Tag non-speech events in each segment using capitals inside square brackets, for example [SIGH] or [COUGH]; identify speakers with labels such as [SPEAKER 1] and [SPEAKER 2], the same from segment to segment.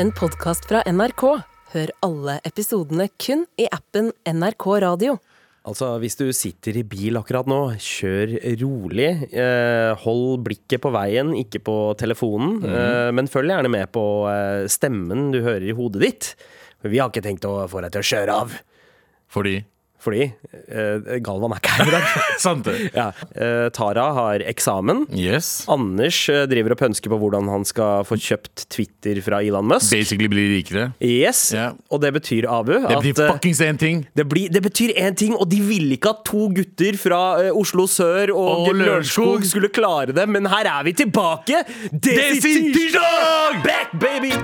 [SPEAKER 1] en podkast fra NRK. Hør alle episodene kun i appen NRK Radio.
[SPEAKER 2] Altså, Hvis du sitter i bil akkurat nå, kjør rolig. Eh, hold blikket på veien, ikke på telefonen.
[SPEAKER 3] Mhm.
[SPEAKER 2] Eh, men følg gjerne med på eh, stemmen du hører i hodet ditt. Vi har ikke tenkt å få deg til å kjøre av.
[SPEAKER 3] Fordi
[SPEAKER 2] Fordi eh, Galvan er ikke her i dag.
[SPEAKER 3] Sant det?
[SPEAKER 2] ja. eh, Tara har eksamen.
[SPEAKER 3] Yes.
[SPEAKER 2] Anders eh, driver og pønsker på hvordan han skal få kjøpt Twitter fra Elon Musk.
[SPEAKER 3] Basically bli rikere.
[SPEAKER 2] Yes,
[SPEAKER 3] Ja.
[SPEAKER 2] Og det betyr, Abu,
[SPEAKER 3] Det blir
[SPEAKER 2] at eh,
[SPEAKER 3] fuckings én ting!
[SPEAKER 2] Det, blir, det betyr én ting, og de ville ikke at to gutter fra eh, Oslo sør og,
[SPEAKER 3] Og Lørenskog.
[SPEAKER 2] Lørenskog skulle klare det, men her er vi tilbake! Det
[SPEAKER 3] Det er sin tirsdag!
[SPEAKER 2] Back, baby!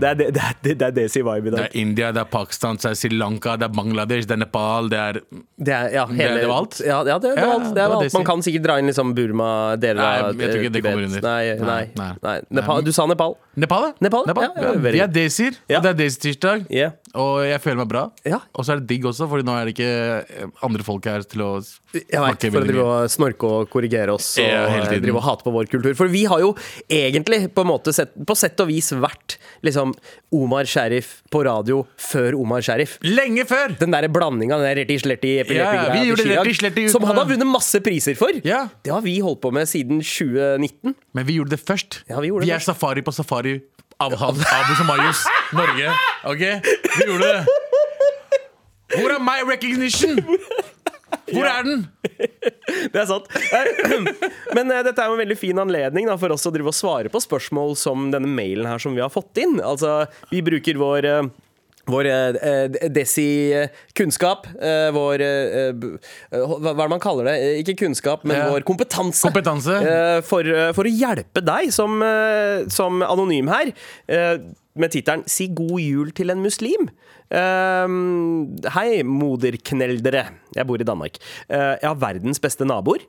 [SPEAKER 2] Det er, det, det, er- det er Desi Vibe i
[SPEAKER 3] Det
[SPEAKER 2] dag.
[SPEAKER 3] er India, det er Pakistan, det er Sri Lanka, det er Bangladesh, det er Nepal, det er
[SPEAKER 2] Det er, ja, hele,
[SPEAKER 3] det var alt?
[SPEAKER 2] Ja, ja, det, det var
[SPEAKER 3] Ja,
[SPEAKER 2] alt. Det
[SPEAKER 3] det
[SPEAKER 2] var
[SPEAKER 3] var
[SPEAKER 2] alt.
[SPEAKER 3] Desi.
[SPEAKER 2] Man kan sikkert dra inn liksom Burma, deler
[SPEAKER 3] Nei,
[SPEAKER 2] av eh,
[SPEAKER 3] jeg tror ikke det
[SPEAKER 2] Tibet.
[SPEAKER 3] kommer under.
[SPEAKER 2] Nei, nei,
[SPEAKER 3] Nei,
[SPEAKER 2] nei.
[SPEAKER 3] nei.
[SPEAKER 2] Nepal, du sa Nepal.
[SPEAKER 3] Nepal,
[SPEAKER 2] Nepal, ja, ja, very
[SPEAKER 3] Vi er
[SPEAKER 2] good.
[SPEAKER 3] desier,
[SPEAKER 2] Ja.
[SPEAKER 3] og det er desi-tirsdag.
[SPEAKER 2] Yeah.
[SPEAKER 3] Og jeg føler meg bra.
[SPEAKER 2] Ja.
[SPEAKER 3] Og så er det digg også, Fordi nå er det ikke eh, andre folk her til å
[SPEAKER 2] Jeg vet,
[SPEAKER 3] snakke
[SPEAKER 2] for å
[SPEAKER 3] veldig
[SPEAKER 2] drive
[SPEAKER 3] mye.
[SPEAKER 2] og snorke og korrigere oss og
[SPEAKER 3] Ja, hele
[SPEAKER 2] eh,
[SPEAKER 3] tiden.
[SPEAKER 2] drive og hate på vår kultur. For vi har jo egentlig på, en måte sett, på sett og vis vært liksom Omar Sheriff på radio før Omar Sheriff.
[SPEAKER 3] Lenge før!
[SPEAKER 2] Den der blandinga, den der retti-sletti
[SPEAKER 3] Ja, ja, vi gjorde retti-sletti uten
[SPEAKER 2] som han
[SPEAKER 3] å-
[SPEAKER 2] har vunnet masse priser for.
[SPEAKER 3] Ja.
[SPEAKER 2] Det har vi holdt på med siden 2019.
[SPEAKER 3] Men vi gjorde det først.
[SPEAKER 2] Ja, vi gjorde det
[SPEAKER 3] er safari på safari av av- Abu Samayus, Norge. Ok? Vi gjorde det. Hvor er my recognition? Hvor er den?
[SPEAKER 2] Det er sant. Men eh, [CLEARS THROAT] dette er jo en veldig fin anledning da, for oss å drive og svare på spørsmål som denne mailen her som vi har fått inn. Altså, vi bruker vår eh, vår eh, desi-kunnskap, vår eh, b- eh, Hva hva er det man kaller det? Eh, Ikke kunnskap, men
[SPEAKER 3] Ja.
[SPEAKER 2] vår kompetanse.
[SPEAKER 3] Kompetanse.
[SPEAKER 2] eh, For, eh, for å hjelpe deg som, eh, som anonym her, eh, med tittelen 'Si god jul til en muslim'. Eh, Hei, moderkneldere. Jeg bor i Danmark. Eh, Jeg har verdens beste naboer.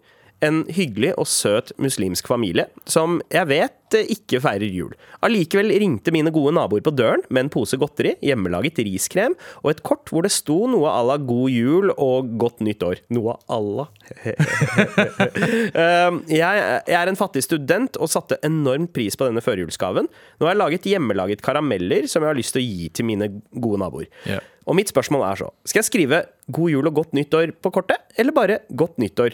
[SPEAKER 2] En hyggelig og søt muslimsk familie som jeg vet eh, ikke feirer jul. Allikevel ringte mine gode naboer på døren med en pose godteri, hjemmelaget riskrem og et kort hvor det sto noe à la 'God jul' og 'Godt nytt år'. Noe à la. Eh, jeg, jeg er en fattig student og satte enormt pris på denne førjulsgaven. Nå har jeg laget hjemmelaget karameller som jeg har lyst til å gi til mine gode naboer.
[SPEAKER 3] Ja.
[SPEAKER 2] Og mitt spørsmål er så Skal jeg skrive 'God jul og godt nyttår' på kortet, eller bare 'Godt nyttår'?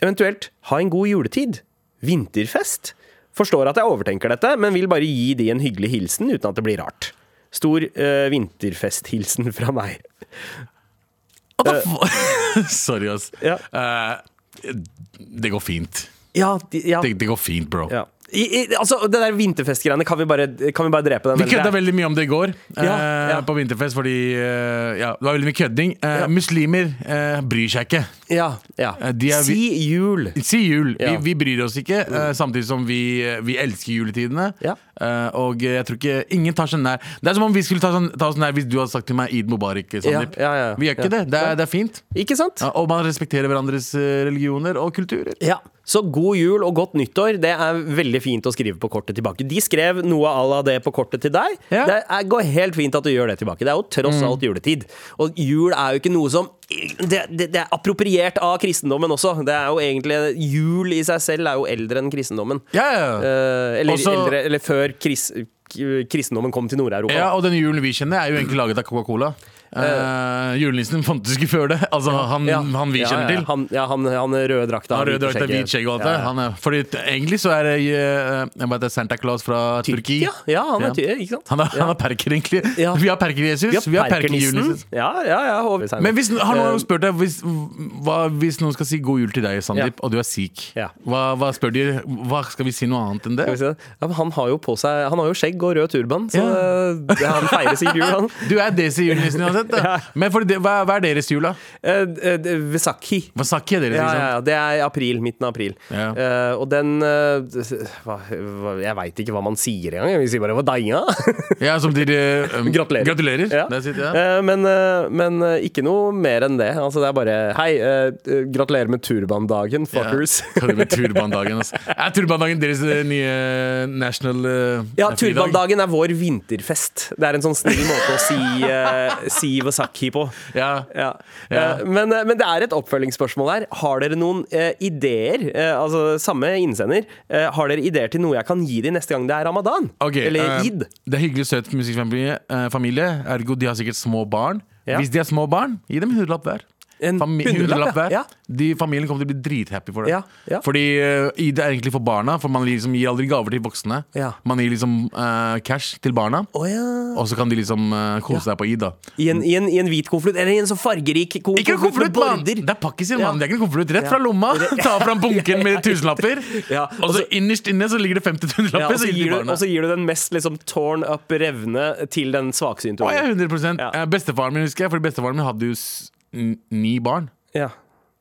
[SPEAKER 2] Eventuelt 'Ha en god juletid'? Vinterfest? Forstår at jeg overtenker dette, men vil bare gi de en hyggelig hilsen uten at det blir rart. Stor eh, vinterfesthilsen fra meg.
[SPEAKER 3] [LAUGHS] Sorry, ass.
[SPEAKER 2] Eh. Ja.
[SPEAKER 3] Eh, det går fint.
[SPEAKER 2] Ja, de, ja.
[SPEAKER 3] Det, det går fint, bro.
[SPEAKER 2] ja. I, i, altså, det der vinterfestgreiene, kan vi bare, kan vi bare drepe den?
[SPEAKER 3] Vi
[SPEAKER 2] eller?
[SPEAKER 3] kødda veldig mye om det i går eh,
[SPEAKER 2] Ja, ja.
[SPEAKER 3] på vinterfest, fordi eh, ja, det var veldig mye kødding. Eh, Muslimer eh, bryr seg ikke.
[SPEAKER 2] Ja, ja.
[SPEAKER 3] Eh, de er-
[SPEAKER 2] Si jul.
[SPEAKER 3] Si jul.
[SPEAKER 2] Ja. Mm.
[SPEAKER 3] Vi, vi bryr oss ikke, eh, samtidig som vi, eh, vi elsker juletidene.
[SPEAKER 2] Ja.
[SPEAKER 3] Eh, og eh, jeg tror ikke ingen tar seg nær. Det er som om vi skulle ta, sånn, ta oss nær hvis du hadde sagt til meg Eid Mubarak. eh, Sandeep.
[SPEAKER 2] Ja, ja, ja.
[SPEAKER 3] Vi gjør ikke
[SPEAKER 2] Ja.
[SPEAKER 3] det. Det er, det er fint.
[SPEAKER 2] Ikke sant?
[SPEAKER 3] Ja, og man respekterer hverandres eh, religioner og kulturer.
[SPEAKER 2] Ja. Så god jul og godt nyttår, det er veldig fint å skrive på kortet tilbake. De skrev noe à la det på kortet til deg.
[SPEAKER 3] Ja. Mm.
[SPEAKER 2] Det er, går helt fint at du gjør det tilbake. Det er jo tross alt juletid. Og jul er jo ikke noe som det, det, det er appropriert av kristendommen også. Det er jo egentlig Jul i seg selv er jo eldre enn kristendommen.
[SPEAKER 3] Ja, ja, ja.
[SPEAKER 2] Eh, eller,
[SPEAKER 3] Også-
[SPEAKER 2] eldre, eller før kris, k- kristendommen kom til Nord-Europa.
[SPEAKER 3] ja, og den julen vi kjenner, er jo egentlig laget av Coca-Cola. Eh, julenissen fantes ikke før det. Altså han,
[SPEAKER 2] Ja.
[SPEAKER 3] han vi
[SPEAKER 2] Ja,
[SPEAKER 3] kjenner
[SPEAKER 2] ja,
[SPEAKER 3] til.
[SPEAKER 2] ja. Han, ja, han, han røde drakta.
[SPEAKER 3] Han røde
[SPEAKER 2] hvite
[SPEAKER 3] drakta,
[SPEAKER 2] skjegget.
[SPEAKER 3] hvit skjegg og alt det.
[SPEAKER 2] Ja, ja.
[SPEAKER 3] Han er, fordi t- egentlig så er det eh, jeg vet det, Santa Claus fra Tyrkia.
[SPEAKER 2] Ja, ja, han er ty ikke sant?
[SPEAKER 3] Han er, han er perker, egentlig.
[SPEAKER 2] Ja.
[SPEAKER 3] Vi har perker-Jesus. Vi har
[SPEAKER 2] Perkernissen.
[SPEAKER 3] perker-Jesus.
[SPEAKER 2] Ja, ja, ja. og-
[SPEAKER 3] Men hvis, har noen spurt deg hvis, hva, hvis noen skal si god jul til deg, Sandeep, og du er sikh,
[SPEAKER 2] Ja.
[SPEAKER 3] hva, hva spør de? Hva, skal vi si noe annet enn det?
[SPEAKER 2] Skal vi si det? Ja, men han har jo på seg Han har jo skjegg og rød turban, så
[SPEAKER 3] Ja.
[SPEAKER 2] eh, det- han feirer sikkert jul,
[SPEAKER 3] [LAUGHS]
[SPEAKER 2] han.
[SPEAKER 3] Du er desi-julenissen uansett.
[SPEAKER 2] [LAUGHS]
[SPEAKER 3] Da.
[SPEAKER 2] Ja.
[SPEAKER 3] Men for det, hva, hva er deres jul, da?
[SPEAKER 2] Eh, eh, det- Vesaki.
[SPEAKER 3] Hva sa ikke dere? liksom?
[SPEAKER 2] Ja,
[SPEAKER 3] ikke
[SPEAKER 2] ja,
[SPEAKER 3] sant?
[SPEAKER 2] ja, det er i april, midten av april.
[SPEAKER 3] Ja.
[SPEAKER 2] Eh, og den eh, hva, hva, Jeg veit ikke hva man sier engang. Vi sier bare 'hva deinga'.
[SPEAKER 3] Ja, som dere um,
[SPEAKER 2] Gratulerer.
[SPEAKER 3] gratulerer.
[SPEAKER 2] [LAUGHS] Ja.
[SPEAKER 3] That's it, ja.
[SPEAKER 2] Eh, Men, eh, men eh, ikke noe mer enn det. Altså, det er bare Hei, eh, eh, gratulerer med turbandagen, fuckers.
[SPEAKER 3] Ja, Hva er det med turbandagen, altså? Er turbandagen deres eh, nye national eh,
[SPEAKER 2] Ja,
[SPEAKER 3] fridag? [LAUGHS]
[SPEAKER 2] turbandagen er vår vinterfest. Det er en sånn snill måte å si, eh, si stiv og sakki på.
[SPEAKER 3] Ja.
[SPEAKER 2] Ja.
[SPEAKER 3] Ja.
[SPEAKER 2] Eh, Men, eh, men det er et oppfølgingsspørsmål her. Har dere noen eh, ideer, eh, altså samme innsender, eh, har dere ideer til noe jeg kan gi dem neste gang det er ramadan?
[SPEAKER 3] Ok,
[SPEAKER 2] Eller
[SPEAKER 3] eh,
[SPEAKER 2] id?
[SPEAKER 3] Det er hyggelig søt musikkfamilie. eh, familie, Ergo de har sikkert små barn.
[SPEAKER 2] Ja.
[SPEAKER 3] Hvis de har små barn, gi dem en hundrelapp hver.
[SPEAKER 2] En
[SPEAKER 3] Fami-
[SPEAKER 2] hundrelapp, ja.
[SPEAKER 3] hundrelapp hver.
[SPEAKER 2] Ja.
[SPEAKER 3] De Familien kommer til å bli drithappy for det.
[SPEAKER 2] Ja, ja.
[SPEAKER 3] Fordi eh, id er egentlig for barna, for man liksom gir aldri gaver til voksne.
[SPEAKER 2] Ja.
[SPEAKER 3] Man gir liksom eh, cash til barna,
[SPEAKER 2] Å ja.
[SPEAKER 3] og så kan de liksom eh, kose seg på id. da
[SPEAKER 2] I en, i, en, I en hvit konvolutt, eller i en så fargerik kon-
[SPEAKER 3] Ikke en konvolutt, mann!
[SPEAKER 2] border.
[SPEAKER 3] Det er pakkisen,
[SPEAKER 2] Ja.
[SPEAKER 3] mann. Det er ikke en konvolutt. Rett
[SPEAKER 2] Ja.
[SPEAKER 3] fra lomma. [LAUGHS] Ta fram bunken med tusenlapper.
[SPEAKER 2] [LAUGHS] Ja,
[SPEAKER 3] Og så innerst inne så ligger det 50
[SPEAKER 2] Ja,
[SPEAKER 3] tusenlapper.
[SPEAKER 2] og, så
[SPEAKER 3] gir de
[SPEAKER 2] gir du,
[SPEAKER 3] barna.
[SPEAKER 2] og så gir du den mest liksom, torn up revne til den svaksynte.
[SPEAKER 3] Å, ja,
[SPEAKER 2] ungen.
[SPEAKER 3] 100
[SPEAKER 2] Ja.
[SPEAKER 3] Eh, Bestefaren min husker jeg, fordi bestefaren min hadde jo s- n- ni barn.
[SPEAKER 2] Ja.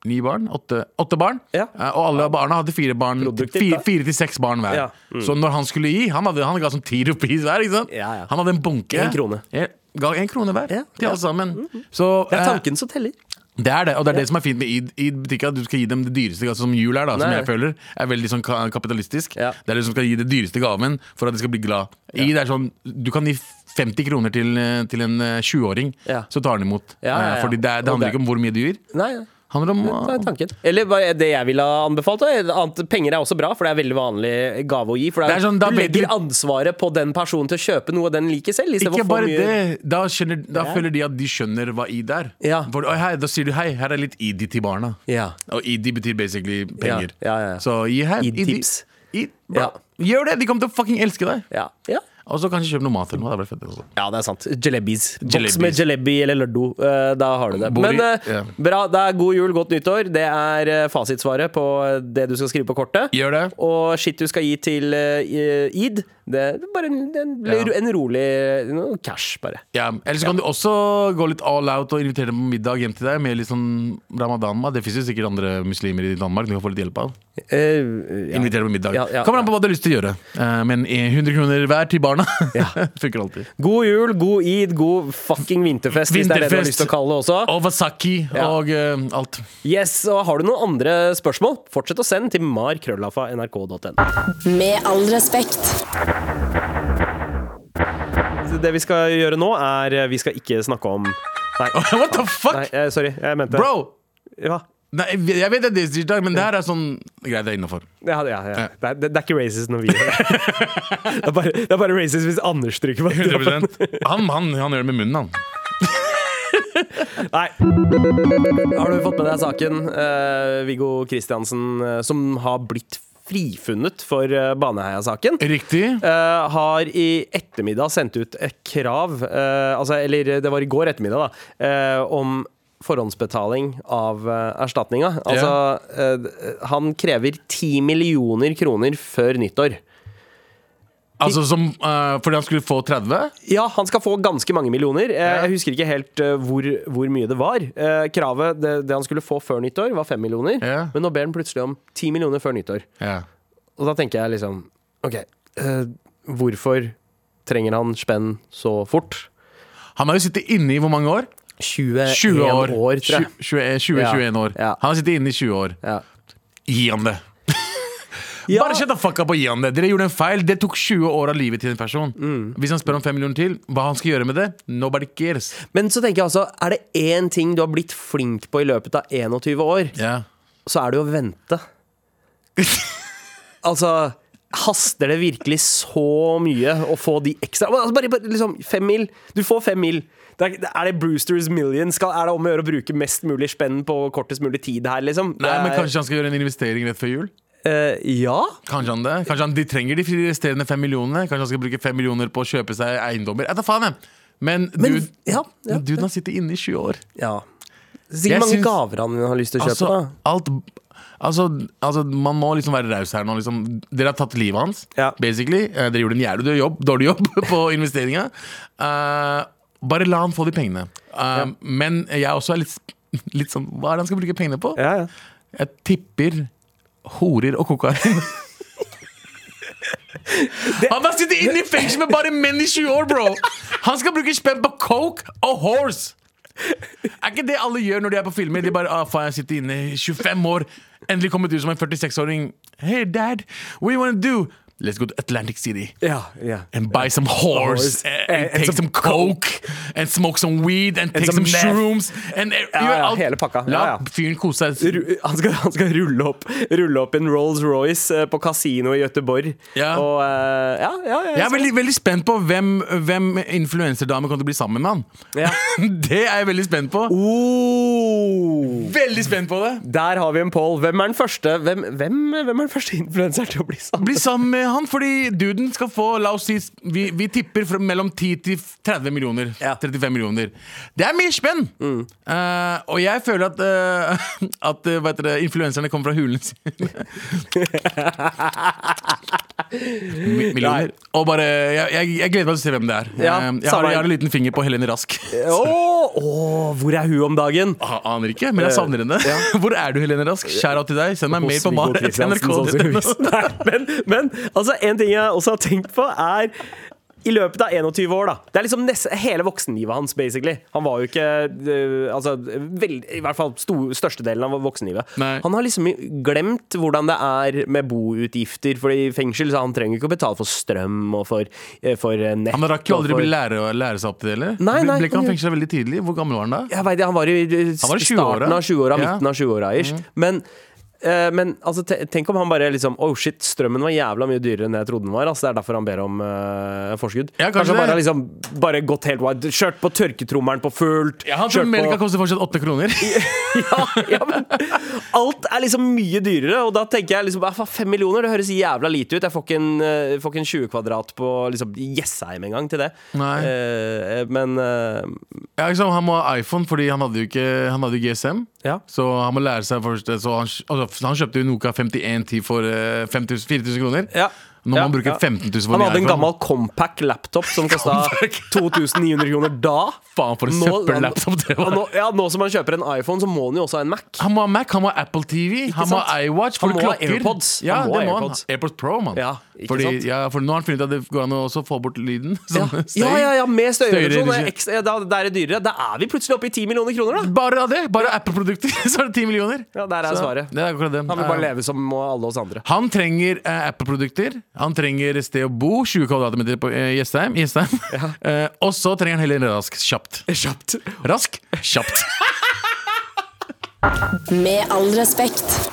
[SPEAKER 3] Ni barn, åtte, åtte barn
[SPEAKER 2] Ja.
[SPEAKER 3] Eh, Og alle barna hadde fire barn
[SPEAKER 2] Produktivt, da.
[SPEAKER 3] Fire, fire til seks barn hver
[SPEAKER 2] Ja, Mm.
[SPEAKER 3] Så når han skulle gi, han, hadde, han ga sånn ti rupees hver ikke sant?
[SPEAKER 2] Ja, ja.
[SPEAKER 3] Han hadde en bunke
[SPEAKER 2] En krone.
[SPEAKER 3] Ja, Ga en krone hver
[SPEAKER 2] Ja,
[SPEAKER 3] til
[SPEAKER 2] ja. Mm.
[SPEAKER 3] alle sammen Så
[SPEAKER 2] Det
[SPEAKER 3] eh,
[SPEAKER 2] er tanken som teller.
[SPEAKER 3] det er det, og det er det som er fint med id, id butikker At du skal gi dem det dyreste, altså som jul er da Som
[SPEAKER 2] Nei.
[SPEAKER 3] jeg føler er veldig sånn ka- kapitalistisk
[SPEAKER 2] Ja.
[SPEAKER 3] Det er det som skal gi det dyreste gaven For at de skal bli glad Id er sånn, du kan gi 50 kroner til, eh, til en eh, 20-åring
[SPEAKER 2] Ja.
[SPEAKER 3] Så tar han imot
[SPEAKER 2] Ja, ja, ja.
[SPEAKER 3] Eh, Fordi det, er-
[SPEAKER 2] Og
[SPEAKER 3] det handler
[SPEAKER 2] det-
[SPEAKER 3] ikke om hvor mye du gir
[SPEAKER 2] Nei, nei.
[SPEAKER 3] Handler om
[SPEAKER 2] Det er tanken. Ah. Eller bare det jeg ville ha anbefalt. da. Annet- Penger er også bra, for det er veldig vanlig gave å gi. For det er,
[SPEAKER 3] Det er sånn, da
[SPEAKER 2] du
[SPEAKER 3] vet
[SPEAKER 2] legger
[SPEAKER 3] du-
[SPEAKER 2] ansvaret på den personen til å kjøpe noe den liker selv. i stedet for
[SPEAKER 3] Ikke
[SPEAKER 2] å få
[SPEAKER 3] bare
[SPEAKER 2] mye-
[SPEAKER 3] det, da, skjønner, da
[SPEAKER 2] Ja.
[SPEAKER 3] føler de at de skjønner hva id er.
[SPEAKER 2] Ja.
[SPEAKER 3] For, «Oi, hei, da sier du hei, her er litt id til barna.
[SPEAKER 2] Ja.
[SPEAKER 3] Og id betyr basically penger.
[SPEAKER 2] Ja, ja, ja.
[SPEAKER 3] Så gi her.
[SPEAKER 2] Id tips.
[SPEAKER 3] Id, bra.
[SPEAKER 2] Ja.
[SPEAKER 3] Gjør det! De kommer til å fucking elske deg.
[SPEAKER 2] Ja. Ja.
[SPEAKER 3] Og så kanskje kjøpe noe mat. Eller noe, det er vel fett altså. også.
[SPEAKER 2] ja, det er sant. Jalebis. Boks
[SPEAKER 3] Jalebis.
[SPEAKER 2] med jalebi eller lardo. Eh, Da har du det.
[SPEAKER 3] Bor i-
[SPEAKER 2] Men eh,
[SPEAKER 3] ja.
[SPEAKER 2] bra. Det er god jul, godt nyttår. Det er eh, fasitsvaret på eh, det du skal skrive på kortet.
[SPEAKER 3] Gjør det.
[SPEAKER 2] Og shit du skal gi til eh, i- id. Det er bare en, en,
[SPEAKER 3] Ja.
[SPEAKER 2] en rolig noe cash, bare.
[SPEAKER 3] Ja. Eller så kan du også gå litt all out og invitere dem på middag hjem til deg med litt sånn ramadan-mat. Det fins jo sikkert andre muslimer i Danmark du kan få litt hjelp av.
[SPEAKER 2] Eh, ja.
[SPEAKER 3] Invitere dem på middag.
[SPEAKER 2] Ja, ja,
[SPEAKER 3] Kommer an på hva du har lyst til å gjøre. Eh, Men 100 kroner hver til [LAUGHS] barna
[SPEAKER 2] Ja.
[SPEAKER 3] funker alltid.
[SPEAKER 2] God jul, god id, god fucking vinterfest, hvis det er det du har
[SPEAKER 3] Vinterfest.
[SPEAKER 2] lyst til å kalle det også.
[SPEAKER 3] Og wasaki
[SPEAKER 2] Ja.
[SPEAKER 3] og eh, alt. [LAUGHS]
[SPEAKER 2] Yes, og Har du noen andre spørsmål, fortsett å sende til markrøllafa.nrk.no.
[SPEAKER 1] Med all respekt.
[SPEAKER 2] Det vi skal gjøre nå, er eh, Vi skal ikke snakke om Nei,
[SPEAKER 3] What the fuck?
[SPEAKER 2] nei eh, sorry. Jeg mente
[SPEAKER 3] Bro!
[SPEAKER 2] Ja,
[SPEAKER 3] Nei, jeg vet det er distriktdag, men det her er sånn Greit, det er innafor.
[SPEAKER 2] ja, ja, ja. Det, er, det er ikke racist når vi gjør det. [LAUGHS] Det er bare, det er bare racist hvis Anders trykker på det.
[SPEAKER 3] Han, han, han gjør det med munnen, han.
[SPEAKER 2] Nei. Har du fått med deg saken, eh, Viggo Kristiansen, eh, som har blitt frifunnet for eh, Baneheia-saken?
[SPEAKER 3] Riktig.
[SPEAKER 2] eh, har i ettermiddag sendt ut et krav, eh, altså, eller det var i går ettermiddag, da, eh, om forhåndsbetaling av uh, erstatninga. Altså, eh, han krever 10 millioner kroner før nyttår.
[SPEAKER 3] Altså som eh, Fordi han skulle få 30?
[SPEAKER 2] Ja, han skal få ganske mange millioner. Eh, Jeg husker ikke helt eh, hvor, hvor mye det var. Eh, Kravet, det, det han skulle få før nyttår, var 5 millioner.
[SPEAKER 3] Ja.
[SPEAKER 2] Men nå ber han plutselig om 10 millioner før nyttår.
[SPEAKER 3] Ja.
[SPEAKER 2] Og da tenker jeg liksom OK, eh, hvorfor trenger han spenn så fort?
[SPEAKER 3] Han har jo sittet inne i hvor mange år?
[SPEAKER 2] 21
[SPEAKER 3] 20 år.
[SPEAKER 2] tror jeg.
[SPEAKER 3] 20-21
[SPEAKER 2] Ja.
[SPEAKER 3] år.
[SPEAKER 2] Ja.
[SPEAKER 3] Han har sittet inne i 20 år.
[SPEAKER 2] Ja.
[SPEAKER 3] Gi han det. Bare shut the fuck up og gi han det. Dere gjorde en feil. Det tok 20 år av livet til en person.
[SPEAKER 2] Mm.
[SPEAKER 3] Hvis han spør om 5 millioner til, hva han skal gjøre med det? Nobody cares.
[SPEAKER 2] Men så tenker jeg altså, er det én ting du har blitt flink på i løpet av 21 år,
[SPEAKER 3] Ja.
[SPEAKER 2] så er det å vente.
[SPEAKER 3] [LAUGHS]
[SPEAKER 2] altså Haster det virkelig så mye å få de ekstra Men altså bare, bare liksom Fem mil. Du får fem mil. Det er, er det Brewsters million? Skal, er det om å gjøre å bruke mest mulig spenn på kortest mulig tid her, liksom?
[SPEAKER 3] Nei,
[SPEAKER 2] Det
[SPEAKER 3] men
[SPEAKER 2] er-
[SPEAKER 3] Kanskje han skal gjøre en investering rett før jul?
[SPEAKER 2] Eh, ja?
[SPEAKER 3] Kanskje han det? Kanskje han, de trenger de resterende fem millionene? Kanskje han skal bruke fem millioner på å kjøpe seg eiendommer? Jeg tar faen, jeg! Men,
[SPEAKER 2] Men-
[SPEAKER 3] dude,
[SPEAKER 2] ja, ja.
[SPEAKER 3] duden har sittet inne i 20 år.
[SPEAKER 2] Ja.
[SPEAKER 3] Jeg
[SPEAKER 2] Sikkert mange
[SPEAKER 3] syns-
[SPEAKER 2] gaver han har lyst til å kjøpe.
[SPEAKER 3] Altså,
[SPEAKER 2] da.
[SPEAKER 3] alt Altså, altså man må liksom være raus her nå. Liksom. Dere har tatt livet hans,
[SPEAKER 2] Ja.
[SPEAKER 3] basically. Eh, Dere gjorde en jævlig dårlig jobb, dårlig jobb [LAUGHS] på investeringa. Eh, bare la han få de pengene. Eh, Men jeg også er litt, litt sånn Hva er det han skal bruke pengene på?
[SPEAKER 2] Ja, ja.
[SPEAKER 3] Jeg tipper horer og kokain. Han har sittet inne i fengsel med bare menn i 20 år, bro! Han skal bruke spenn på coke og horse! Er ikke det alle gjør når de er på filmer? De bare ah, 'faen, jeg sitter inne i 25 år', endelig kommet ut som en 46-åring. 'Hey, dad, what do you wanna do?' Let's go to Atlantic City
[SPEAKER 2] Ja, ja.
[SPEAKER 3] and buy some
[SPEAKER 2] Horse.
[SPEAKER 3] horse, and,
[SPEAKER 2] And- and
[SPEAKER 3] take
[SPEAKER 2] some
[SPEAKER 3] some coke, and smoke some weed, and, take some,
[SPEAKER 2] some meth.
[SPEAKER 3] shrooms. And, eh,
[SPEAKER 2] Ja,
[SPEAKER 3] gjør
[SPEAKER 2] ja,
[SPEAKER 3] alt.
[SPEAKER 2] hele pakka. Ja,
[SPEAKER 3] La
[SPEAKER 2] ja.
[SPEAKER 3] fyren kose seg.
[SPEAKER 2] Ru- Han skal, han skal rulle, opp, rulle opp en Rolls-Royce eh, på kasino i Göteborg.
[SPEAKER 3] Ja.
[SPEAKER 2] Og eh, ja, ja, ja.
[SPEAKER 3] Jeg er veldig, veldig spent på hvem, hvem influenserdame kommer til å bli sammen med han.
[SPEAKER 2] Ja.
[SPEAKER 3] [LAUGHS] Det er jeg veldig spent på.
[SPEAKER 2] Oh.
[SPEAKER 3] Veldig spent på det.
[SPEAKER 2] Der har vi en poll. Hvem er den første Hvem, hvem, hvem er den første influenseren til å bli sammen?
[SPEAKER 3] Bli sammen med han, fordi duden skal få La oss si vi, vi tipper fra mellom 10 til 30 millioner.
[SPEAKER 2] Ja. Mm.
[SPEAKER 3] 35 millioner. Det er mye spenn! Eh, og jeg føler at, eh, [LAUGHS] at eh, hva heter det, influenserne kommer fra hulen sin. [LAUGHS] Mi- millioner. Og bare jeg, jeg, jeg gleder meg til å se hvem det er.
[SPEAKER 2] Ja,
[SPEAKER 3] Eh, jeg, har,
[SPEAKER 2] samme
[SPEAKER 3] jeg
[SPEAKER 2] her.
[SPEAKER 3] har en liten finger på Helene
[SPEAKER 2] [LAUGHS]
[SPEAKER 3] Rask.
[SPEAKER 2] Åh, åh, hvor er hun om dagen?
[SPEAKER 3] Ah, Aner ikke, men jeg savner henne. [LAUGHS] Hvor er du, Helene Rask? Skjær av til deg. Send meg mail på [LAUGHS]
[SPEAKER 2] Viggo Kristiansen,
[SPEAKER 3] mar.nrk.no.
[SPEAKER 2] sannsynligvis. Nei, men, men altså, en ting jeg også har tenkt på, er i løpet av 21 år, da. Det er liksom nest, hele voksenlivet hans, basically. Han var jo ikke eh, altså, vel, I hvert fall sto- størstedelen av voksenlivet.
[SPEAKER 3] Nei.
[SPEAKER 2] Han har liksom glemt hvordan det er med boutgifter, for i fengsel så han trenger ikke å betale for strøm og for, eh, for eh, nett.
[SPEAKER 3] [LAUGHS] Han rakk jo
[SPEAKER 2] og
[SPEAKER 3] aldri
[SPEAKER 2] for-
[SPEAKER 3] bli lære, lære seg opp til det, eller?
[SPEAKER 2] Nei, nei.
[SPEAKER 3] Ble ikke han fengsla veldig tidlig? Hvor gammel var han da?
[SPEAKER 2] jeg vet, ikke, han var i eh,
[SPEAKER 3] var i 20-åra.
[SPEAKER 2] starten av 20-åra,
[SPEAKER 3] Ja. Mm.
[SPEAKER 2] midten av 20-åra ish. Men, eh, men altså, te- tenk om han bare liksom Oh shit, strømmen var jævla mye dyrere enn jeg trodde den var. Altså, det er derfor han ber om eh, forskudd.
[SPEAKER 3] Ja, kanskje
[SPEAKER 2] han bare,
[SPEAKER 3] det.
[SPEAKER 2] liksom, bare gått helt wide. Kjørt på tørketrommelen på fullt.
[SPEAKER 3] Ja, han tror
[SPEAKER 2] kjørt
[SPEAKER 3] melka
[SPEAKER 2] på
[SPEAKER 3] koster fortsatt åtte kroner.
[SPEAKER 2] [LAUGHS] ja, ja, men Alt er liksom mye dyrere, og da tenker jeg liksom "Ja, faen, Fem millioner, det høres jævla lite ut. Jeg får ikke en, eh, får ikke en 20 kvadrat på liksom, Jessheim engang til det.
[SPEAKER 3] Nei.
[SPEAKER 2] Eh, men eh,
[SPEAKER 3] Ja, liksom, han må ha iPhone, fordi han hadde jo ikke Han hadde jo GSM.
[SPEAKER 2] ja.
[SPEAKER 3] Så han må lære seg først så han, altså, han kjøpte jo Noka 5110 for eh, 5000 4000 kroner.
[SPEAKER 2] Ja.
[SPEAKER 3] Når man
[SPEAKER 2] Ja,
[SPEAKER 3] bruker
[SPEAKER 2] ja.
[SPEAKER 3] 15 000 for
[SPEAKER 2] Han
[SPEAKER 3] en
[SPEAKER 2] hadde en
[SPEAKER 3] iPhone.
[SPEAKER 2] gammel compact laptop som kosta [LAUGHS] 2900 kroner da.
[SPEAKER 3] Faen, for en søppellaptop det
[SPEAKER 2] Ja,
[SPEAKER 3] var.
[SPEAKER 2] nå, ja, nå som han kjøper en iPhone, så må han jo også ha en Mac.
[SPEAKER 3] Han må ha Mac, han må ha Apple TV, han må
[SPEAKER 2] sant?
[SPEAKER 3] ha iWatch.
[SPEAKER 2] Han
[SPEAKER 3] for
[SPEAKER 2] må ha
[SPEAKER 3] klokker.
[SPEAKER 2] AirPods.
[SPEAKER 3] Ja,
[SPEAKER 2] Han må
[SPEAKER 3] det
[SPEAKER 2] ha
[SPEAKER 3] må han.
[SPEAKER 2] AirPods.
[SPEAKER 3] AirPods Pro, mann.
[SPEAKER 2] Ja, ikke
[SPEAKER 3] Fordi,
[SPEAKER 2] sant?
[SPEAKER 3] ja, for nå har han funnet ut at det går an å også få bort lyden.
[SPEAKER 2] Ja,
[SPEAKER 3] sånn støy.
[SPEAKER 2] ja, ja, ja med støyreduksjon.
[SPEAKER 3] Støyreduksjon.
[SPEAKER 2] det er ekstra- ja, Da da er det dyrere. Da er vi plutselig oppe i 10 millioner kroner, da.
[SPEAKER 3] Bare av det! Bare Apple-produkter, [LAUGHS] så er det 10 millioner.
[SPEAKER 2] Ja, der er
[SPEAKER 3] Så,
[SPEAKER 2] svaret.
[SPEAKER 3] Det er akkurat det.
[SPEAKER 2] Han vil bare
[SPEAKER 3] Ja.
[SPEAKER 2] leve som alle oss andre.
[SPEAKER 3] Han trenger eh, Apple-produkter. Han trenger et sted å bo, 20 kvadratmeter på eh, Jessheim. Jessheim. [LAUGHS] Eh, og så trenger han heller en rask [LAUGHS] kjapt.
[SPEAKER 2] Kjapt.
[SPEAKER 3] Rask, kjapt.
[SPEAKER 1] Med all respekt.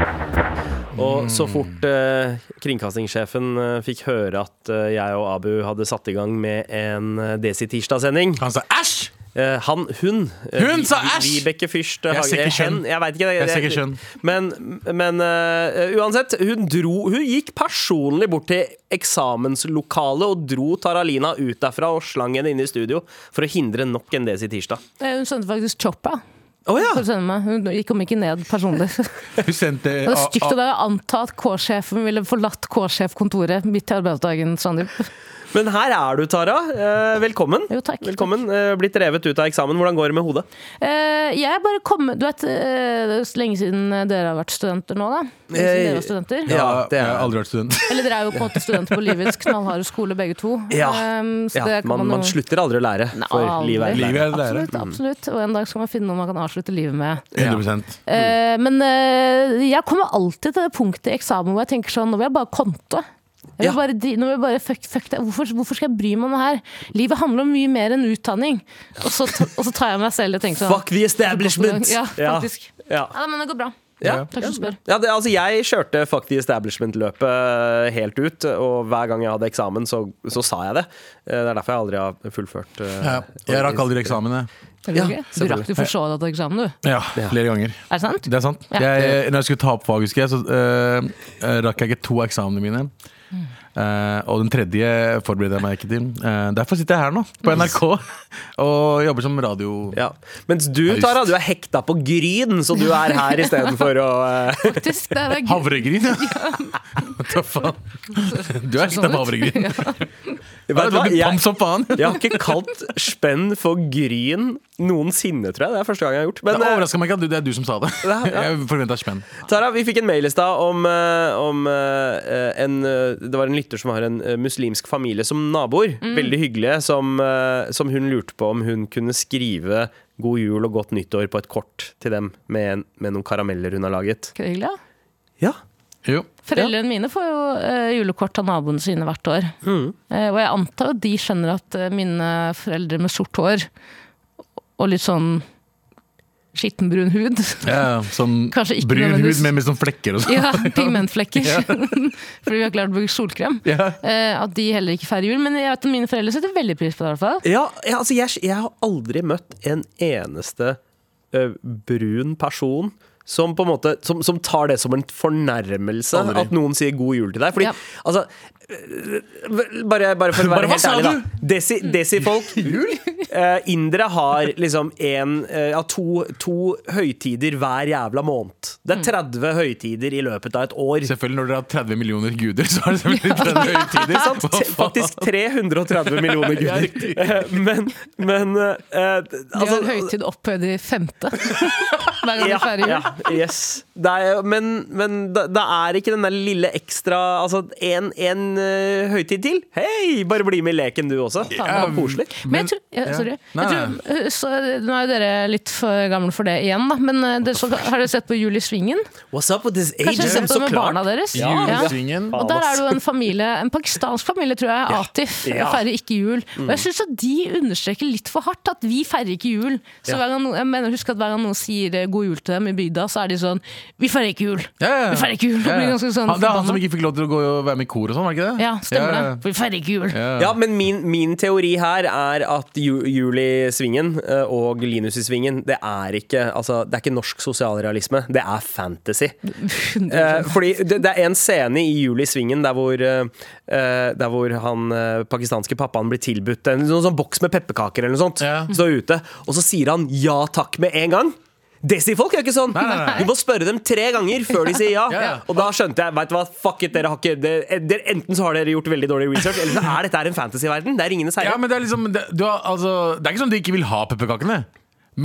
[SPEAKER 2] Og så fort eh, kringkastingssjefen eh, fikk høre at eh, jeg og Abu hadde satt i gang med en eh, Desi-tirsdag-sending
[SPEAKER 3] Han sa æsj!
[SPEAKER 2] Eh, han, hun. eh,
[SPEAKER 3] Hun
[SPEAKER 2] Vi-
[SPEAKER 3] sa
[SPEAKER 2] Vi-
[SPEAKER 3] æsj!
[SPEAKER 2] Vibeke Fyrst.
[SPEAKER 3] Jeg
[SPEAKER 2] Hage-
[SPEAKER 3] ser ikke
[SPEAKER 2] hen,
[SPEAKER 3] kjønn.
[SPEAKER 2] eh, Jeg vet ikke, det,
[SPEAKER 3] Jeg ser
[SPEAKER 2] det-
[SPEAKER 3] ikke kjønn.
[SPEAKER 2] Men, men eh, uansett, hun dro Hun gikk personlig bort til eksamenslokalet og dro Taralina ut derfra og slang henne inn i studio for å hindre nok en Desi Tirsdag.
[SPEAKER 4] Eh, Hun sendte faktisk choppa.
[SPEAKER 2] Å ja!
[SPEAKER 4] Hun sendte meg. Hun gikk- kom ikke ned personlig. [LAUGHS]
[SPEAKER 3] Hun sendte
[SPEAKER 4] Det var
[SPEAKER 2] Ah,
[SPEAKER 4] stygt av deg å anta at K-sjefen ville forlatt K-sjefkontoret midt i arbeidsdagen, Sandeep.
[SPEAKER 2] Men her er du, Tara. Eh, velkommen.
[SPEAKER 4] Jo, takk.
[SPEAKER 2] velkommen. Eh, blitt revet ut av eksamen. Hvordan går det med hodet?
[SPEAKER 4] Eh, jeg bare kom Du vet, eh, det er så lenge siden dere har vært studenter nå, da. Lenge siden dere var studenter.
[SPEAKER 2] Eh, Ja, det
[SPEAKER 3] Jeg
[SPEAKER 2] er
[SPEAKER 3] har aldri vært student.
[SPEAKER 4] Eller dere er jo på en måte studenter på livets knallharde skole, begge to.
[SPEAKER 2] Ja.
[SPEAKER 4] Ehm, så
[SPEAKER 2] ja
[SPEAKER 4] det kan
[SPEAKER 2] man, man
[SPEAKER 4] jo-
[SPEAKER 2] slutter aldri å lære,
[SPEAKER 4] Nei,
[SPEAKER 2] for livet er
[SPEAKER 4] aldri.
[SPEAKER 2] lære.
[SPEAKER 3] Livet er lære.
[SPEAKER 4] Absolutt, absolutt. Og en dag skal man finne noe man kan avslutte livet med.
[SPEAKER 3] 100
[SPEAKER 4] Eh, men eh, jeg kommer alltid til det punktet i eksamen hvor jeg tenker sånn Nå vil jeg bare konte. Jeg
[SPEAKER 2] Ja.
[SPEAKER 4] vil bare, dri- nå vil jeg bare fuck, fuck det. Hvorfor, hvorfor skal jeg bry meg om det her? Livet handler om mye mer enn utdanning. Og så, ta- og så tar jeg meg selv og tenker sånn
[SPEAKER 2] Fuck the establishment!
[SPEAKER 4] Ja, faktisk.
[SPEAKER 2] Ja.
[SPEAKER 4] Ja, men det går bra.
[SPEAKER 2] Ja.
[SPEAKER 4] Takk som spør.
[SPEAKER 2] Ja, det, altså Jeg kjørte fuck the establishment-løpet eh, helt ut, og hver gang jeg hadde eksamen, så, så sa jeg det. Eh, Det er derfor jeg aldri har fullført. eh,
[SPEAKER 3] Ja, jeg rakk aldri eksamen, jeg.
[SPEAKER 4] Er det
[SPEAKER 2] Ja,
[SPEAKER 4] ok? du
[SPEAKER 2] selvfølgelig.
[SPEAKER 4] rakk du for så vidt eksamen, du.
[SPEAKER 3] Ja, flere ganger.
[SPEAKER 4] Er det sant?
[SPEAKER 3] Det er sant.
[SPEAKER 4] Ja.
[SPEAKER 3] Jeg, når jeg skulle ta opp fag, husker jeg, så øh, øh, rakk jeg ikke to av eksamene mine.
[SPEAKER 4] Hmm.
[SPEAKER 3] Eh, og den tredje forbereder jeg meg ikke til. Eh, derfor sitter jeg her nå, på NRK, og jobber som radio...
[SPEAKER 2] Ja. Mens du,
[SPEAKER 3] Høyst.
[SPEAKER 2] Tara, du er hekta på Gryn, så du er her istedenfor å
[SPEAKER 3] [LAUGHS]
[SPEAKER 2] eh,
[SPEAKER 4] Faktisk,
[SPEAKER 2] [LAUGHS]
[SPEAKER 4] det er, det er gøy.
[SPEAKER 3] Havregryn, [LAUGHS] ja! Hva
[SPEAKER 4] [LAUGHS]
[SPEAKER 3] faen? Du er ikke
[SPEAKER 4] sånn
[SPEAKER 3] av
[SPEAKER 4] ut.
[SPEAKER 3] havregryn.
[SPEAKER 2] Vet du hva?
[SPEAKER 3] Pam
[SPEAKER 2] Jeg,
[SPEAKER 3] som faen! Det
[SPEAKER 2] jeg har ikke kalt spenn for Gryn noensinne, tror jeg. Det er første gang jeg har gjort. Men, eh,
[SPEAKER 3] overraska meg ikke at du- det er du som sa det.
[SPEAKER 2] [LAUGHS] Ja, ja.
[SPEAKER 3] Jeg forventa spenn.
[SPEAKER 2] Tara, vi fikk en mail i stad om, eh, om eh, en eh, Det var en lytter som har en eh, muslimsk familie som naboer. Veldig hyggelige. Som, eh, som hun lurte på om hun kunne skrive 'God jul og godt nyttår' på et kort til dem med, en- med noen karameller hun har laget.
[SPEAKER 4] Hyggelig, ja.
[SPEAKER 2] Ja,
[SPEAKER 3] Jo.
[SPEAKER 4] Foreldrene mine får jo eh, julekort av naboene sine hvert år. Eh, og jeg antar jo at de skjønner at eh, mine foreldre med sort hår og litt sånn skittenbrun hud
[SPEAKER 3] Ja, sånn
[SPEAKER 4] Kanskje ikke
[SPEAKER 3] brun hud
[SPEAKER 4] nødvendigvis.
[SPEAKER 3] med, med sånn flekker og sånn.
[SPEAKER 4] Ja, pigmentflekker. [LAUGHS] Fordi vi har klart å bruke solkrem.
[SPEAKER 3] Ja.
[SPEAKER 4] Eh, at de heller ikke feirer jul. Men jeg vet at mine foreldre setter veldig pris på det. i hvert fall.
[SPEAKER 2] Ja, ja altså jeg, jeg har aldri møtt en eneste ø, brun person som på en måte som, som tar det som en fornærmelse
[SPEAKER 3] Aldri.
[SPEAKER 2] at noen sier 'god jul' til deg. Fordi,
[SPEAKER 4] Ja.
[SPEAKER 2] altså ø, bare, bare for å
[SPEAKER 3] Bare,
[SPEAKER 2] være
[SPEAKER 3] hva
[SPEAKER 2] helt
[SPEAKER 3] sa
[SPEAKER 2] ærlig,
[SPEAKER 3] du?
[SPEAKER 2] da. Desi,
[SPEAKER 3] [LAUGHS]
[SPEAKER 2] desifolk eh, Indere har liksom en, eh, ja, to, to høytider hver jævla måned. Det
[SPEAKER 4] Mm.
[SPEAKER 2] er 30 høytider i løpet av et år.
[SPEAKER 3] Selvfølgelig når dere har 30 millioner guder, så er det selvfølgelig 30
[SPEAKER 4] [LAUGHS]
[SPEAKER 3] høytider.
[SPEAKER 2] Ikke [LAUGHS] sant? Te- Faktisk 330
[SPEAKER 3] [LAUGHS]
[SPEAKER 2] millioner
[SPEAKER 3] Ja,
[SPEAKER 2] guder.
[SPEAKER 3] riktig.
[SPEAKER 2] Eh, [LAUGHS] Men, men eh, eh,
[SPEAKER 4] De har
[SPEAKER 2] altså-
[SPEAKER 4] høytid opphøyd i femte. Hver gang de
[SPEAKER 2] ja,
[SPEAKER 4] feirer jul.
[SPEAKER 2] ja, yes. det er, men men det, det er ikke den der lille ekstra Altså en, en eh, høytid til. Hei, bare bli med i leken du også. Det
[SPEAKER 4] Ja,
[SPEAKER 2] var koselig.
[SPEAKER 4] Men jeg tror, ja, sorry.
[SPEAKER 3] Nei,
[SPEAKER 4] Jeg tror, så, eh, nå er jo dere litt for gamle for det igjen, da. Men eh, dere, så, har dere sett på Jul i Svingen?
[SPEAKER 2] What's up with this
[SPEAKER 4] Kanskje dere har
[SPEAKER 2] ageism?
[SPEAKER 4] sett på
[SPEAKER 2] Så
[SPEAKER 4] det med barna
[SPEAKER 2] klart.
[SPEAKER 4] deres?
[SPEAKER 3] Ja.
[SPEAKER 4] Ja.
[SPEAKER 3] Julesvingen.
[SPEAKER 4] Og der er det jo en familie, en pakistansk familie, tror jeg, Atif,
[SPEAKER 2] Ja.
[SPEAKER 4] feirer ikke jul. Og
[SPEAKER 3] Mm.
[SPEAKER 4] jeg syns at de understreker litt for hardt at vi feirer ikke jul. Så
[SPEAKER 2] Ja.
[SPEAKER 4] hver gang, no- jeg mener, husk at hver gang noen sier eh, god jul til dem i bygda, så er de sånn Vi feirer ikke jul!
[SPEAKER 3] Ja, ja, ja.
[SPEAKER 4] Vi feirer ikke jul!
[SPEAKER 3] Ja,
[SPEAKER 4] Blir
[SPEAKER 3] ja.
[SPEAKER 4] ganske sånn
[SPEAKER 3] Han- det er han som
[SPEAKER 4] forbanna.
[SPEAKER 3] ikke fikk lov til å gå og være med i kor og sånn, var det ikke det?
[SPEAKER 4] Ja, stemmer
[SPEAKER 3] Ja,
[SPEAKER 4] det. Vi feirer ikke jul.
[SPEAKER 3] Ja,
[SPEAKER 2] Ja, men min, min teori her er at ju, Juli Svingen eh, og Linus i Svingen, det er ikke, altså, det er ikke norsk sosialrealisme. Det er fantasy. [LAUGHS] Eh, fordi det, det er en scene i Juli Svingen der hvor, eh, eh, der hvor han eh, pakistanske pappaen blir tilbudt en sånn, sånn boks med pepperkaker eller noe sånt.
[SPEAKER 3] Ja.
[SPEAKER 2] Står ute, og så sier han ja takk med en gang. Desi-folk er ikke sånn!
[SPEAKER 3] Nei, nei, nei.
[SPEAKER 2] Du må spørre dem tre ganger før de sier ja.
[SPEAKER 3] Ja, ja.
[SPEAKER 2] Og da skjønte jeg, vet du hva, fuck it, dere har ikke dere, dere, Enten så har dere gjort veldig dårlig research, eller så er dette her en fantasyverden. Det er Ringenes herre.
[SPEAKER 3] Ja, men det er liksom det, du har, altså, det er ikke sånn at de ikke vil ha pepperkakene,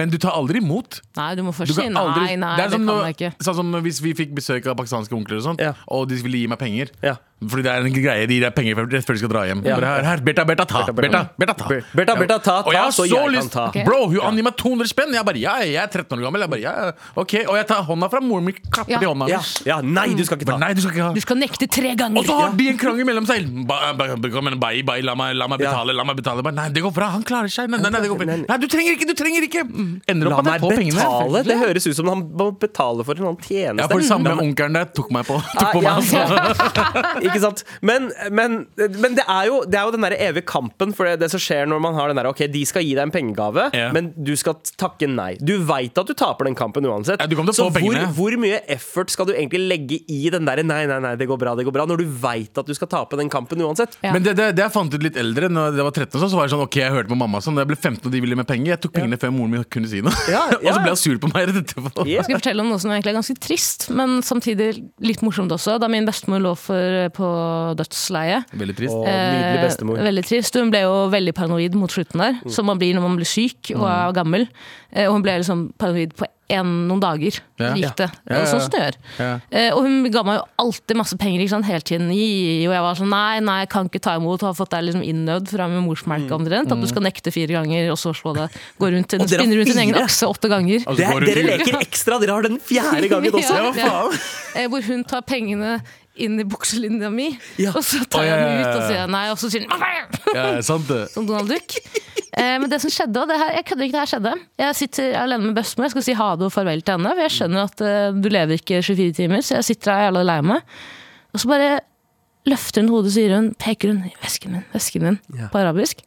[SPEAKER 3] men du tar aldri imot.
[SPEAKER 4] Nei, du må
[SPEAKER 3] Du
[SPEAKER 4] først si
[SPEAKER 3] kan
[SPEAKER 4] nei,
[SPEAKER 3] aldri-
[SPEAKER 4] nei,
[SPEAKER 3] det
[SPEAKER 4] det,
[SPEAKER 3] er som
[SPEAKER 4] kan
[SPEAKER 3] når-
[SPEAKER 4] jeg ikke.
[SPEAKER 3] Sånn som hvis vi fikk besøk av pakistanske onkler og sånt,
[SPEAKER 2] Ja.
[SPEAKER 3] og de ville gi meg penger.
[SPEAKER 2] Ja.
[SPEAKER 3] Fordi det er en greie, de gir deg penger rett før de skal dra hjem.
[SPEAKER 2] Ja.
[SPEAKER 3] Bare her, her, Bertha, Bertha, ta! Bertha, Bertha, ta!
[SPEAKER 2] Ber- Bertha, Bertha, ta,
[SPEAKER 3] og jeg
[SPEAKER 2] ta,
[SPEAKER 3] har
[SPEAKER 2] så
[SPEAKER 3] så,
[SPEAKER 2] jeg kan
[SPEAKER 3] lyst!
[SPEAKER 2] ta. Ok.
[SPEAKER 3] Bro, hun angir meg 200 spenn! Jeg bare, ja, jeg er 13 år gammel. Jeg bare, ja, ja, ok, Og jeg tar hånda fra moren min, klapper
[SPEAKER 4] Ja.
[SPEAKER 3] i hånda.
[SPEAKER 2] Ja, ja, nei, du skal ikke
[SPEAKER 3] Bare,
[SPEAKER 2] ta.
[SPEAKER 3] nei, du skal ikke ha
[SPEAKER 4] Du skal nekte tre ganger!
[SPEAKER 3] Og så har de en krangel mellom seg. Ba- ba- ba- kom igjen, Bye, bye, la meg, la meg
[SPEAKER 2] Ja.
[SPEAKER 3] betale, la meg betale. Bare, Nei, det går bra, han klarer seg. Nei, nei, nei, det går bra.
[SPEAKER 2] Nei, nei.
[SPEAKER 3] nei du trenger ikke, du trenger ikke!
[SPEAKER 4] Mm.
[SPEAKER 3] Ender
[SPEAKER 2] La
[SPEAKER 3] opp med
[SPEAKER 2] meg
[SPEAKER 3] at jeg får pengene.
[SPEAKER 2] betale. Det høres ut som han må betale for en annen
[SPEAKER 3] Ja, for
[SPEAKER 2] tjeneste.
[SPEAKER 3] det samme onkelen der tok meg på. Tok på
[SPEAKER 2] Ah, Ja,
[SPEAKER 3] meg altså.
[SPEAKER 2] [LAUGHS] Ikke sant? Men, men, men det, er jo, det er jo den der evige kampen for det, det som skjer når man har den der Ok, de skal gi deg en pengegave,
[SPEAKER 3] Ja.
[SPEAKER 2] men du skal takke nei. Du veit at du taper den kampen uansett.
[SPEAKER 3] Ja, du kommer til
[SPEAKER 2] så
[SPEAKER 3] å få
[SPEAKER 2] hvor,
[SPEAKER 3] pengene.
[SPEAKER 2] hvor mye effort skal du egentlig legge i den derre nei, nei, nei, det går bra, det går bra, når du veit at du skal tape den kampen uansett?
[SPEAKER 4] Ja.
[SPEAKER 3] Men det, det, det jeg fant ut litt eldre, Når jeg var 13, og sånn, så var det sånn Ok, jeg hørte på mamma sånn. Da jeg ble 15 og de ville gi meg penger, jeg tok pengene før moren min kunne si noe.
[SPEAKER 2] Ja,
[SPEAKER 3] [LAUGHS] og så
[SPEAKER 2] ja.
[SPEAKER 3] ble hun sur på meg rett
[SPEAKER 2] [LAUGHS]
[SPEAKER 3] etterpå.
[SPEAKER 2] Yeah.
[SPEAKER 4] Jeg skal fortelle om noe som egentlig er ganske trist, men samtidig litt morsomt også. Da min bestemor lå for, eh, på dødsleie.
[SPEAKER 3] Veldig trist.
[SPEAKER 2] Og nydelig bestemor.
[SPEAKER 4] Eh, veldig trist. Hun ble jo veldig paranoid mot slutten der,
[SPEAKER 3] Mm.
[SPEAKER 4] som man blir når man blir syk og er gammel. Eh, og hun ble liksom paranoid på en, noen dager.
[SPEAKER 3] Ja.
[SPEAKER 4] Så gikk det.
[SPEAKER 3] Ja, ja, ja.
[SPEAKER 4] Sånn som det gjør.
[SPEAKER 3] Ja.
[SPEAKER 4] Eh, og hun ga meg jo alltid masse penger ikke sant? hele tiden. Gi, og jeg var sånn nei, nei, jeg kan ikke ta imot. Har fått deg liksom innøvd fra min
[SPEAKER 3] Mm.
[SPEAKER 4] morsmelk omtrent. At du skal nekte fire ganger, og så slå det. Gå rundt,
[SPEAKER 2] Og dere har
[SPEAKER 4] spinne rundt din egen
[SPEAKER 2] fire?
[SPEAKER 4] akse åtte ganger.
[SPEAKER 3] Altså,
[SPEAKER 2] Det,
[SPEAKER 3] går hun
[SPEAKER 2] dere
[SPEAKER 3] til-
[SPEAKER 2] leker ekstra, dere har den fjerde
[SPEAKER 4] [LAUGHS]
[SPEAKER 2] gangen også.
[SPEAKER 3] Ja, hva faen?
[SPEAKER 4] Eh, Hvor hun tar pengene inn i bukselinja mi,
[SPEAKER 2] Ja.
[SPEAKER 4] og så tar
[SPEAKER 3] Å,
[SPEAKER 4] jeg
[SPEAKER 3] ja,
[SPEAKER 4] den
[SPEAKER 3] ja, ja,
[SPEAKER 4] ut og
[SPEAKER 3] ja.
[SPEAKER 4] sier nei, og så sier hun
[SPEAKER 3] Ja, sant det.
[SPEAKER 4] som Donald Duck. Eh, men det som skjedde, og det her, jeg kødder ikke, det her skjedde. Jeg sitter alene med bestemor, jeg skal si ha det og farvel til henne. For jeg skjønner at eh, du lever ikke 24 timer, så jeg sitter her jævla lei meg. Og så bare løfter hun hodet, sier hun, peker hun, vesken min, vesken min,
[SPEAKER 2] Ja.
[SPEAKER 4] på arabisk.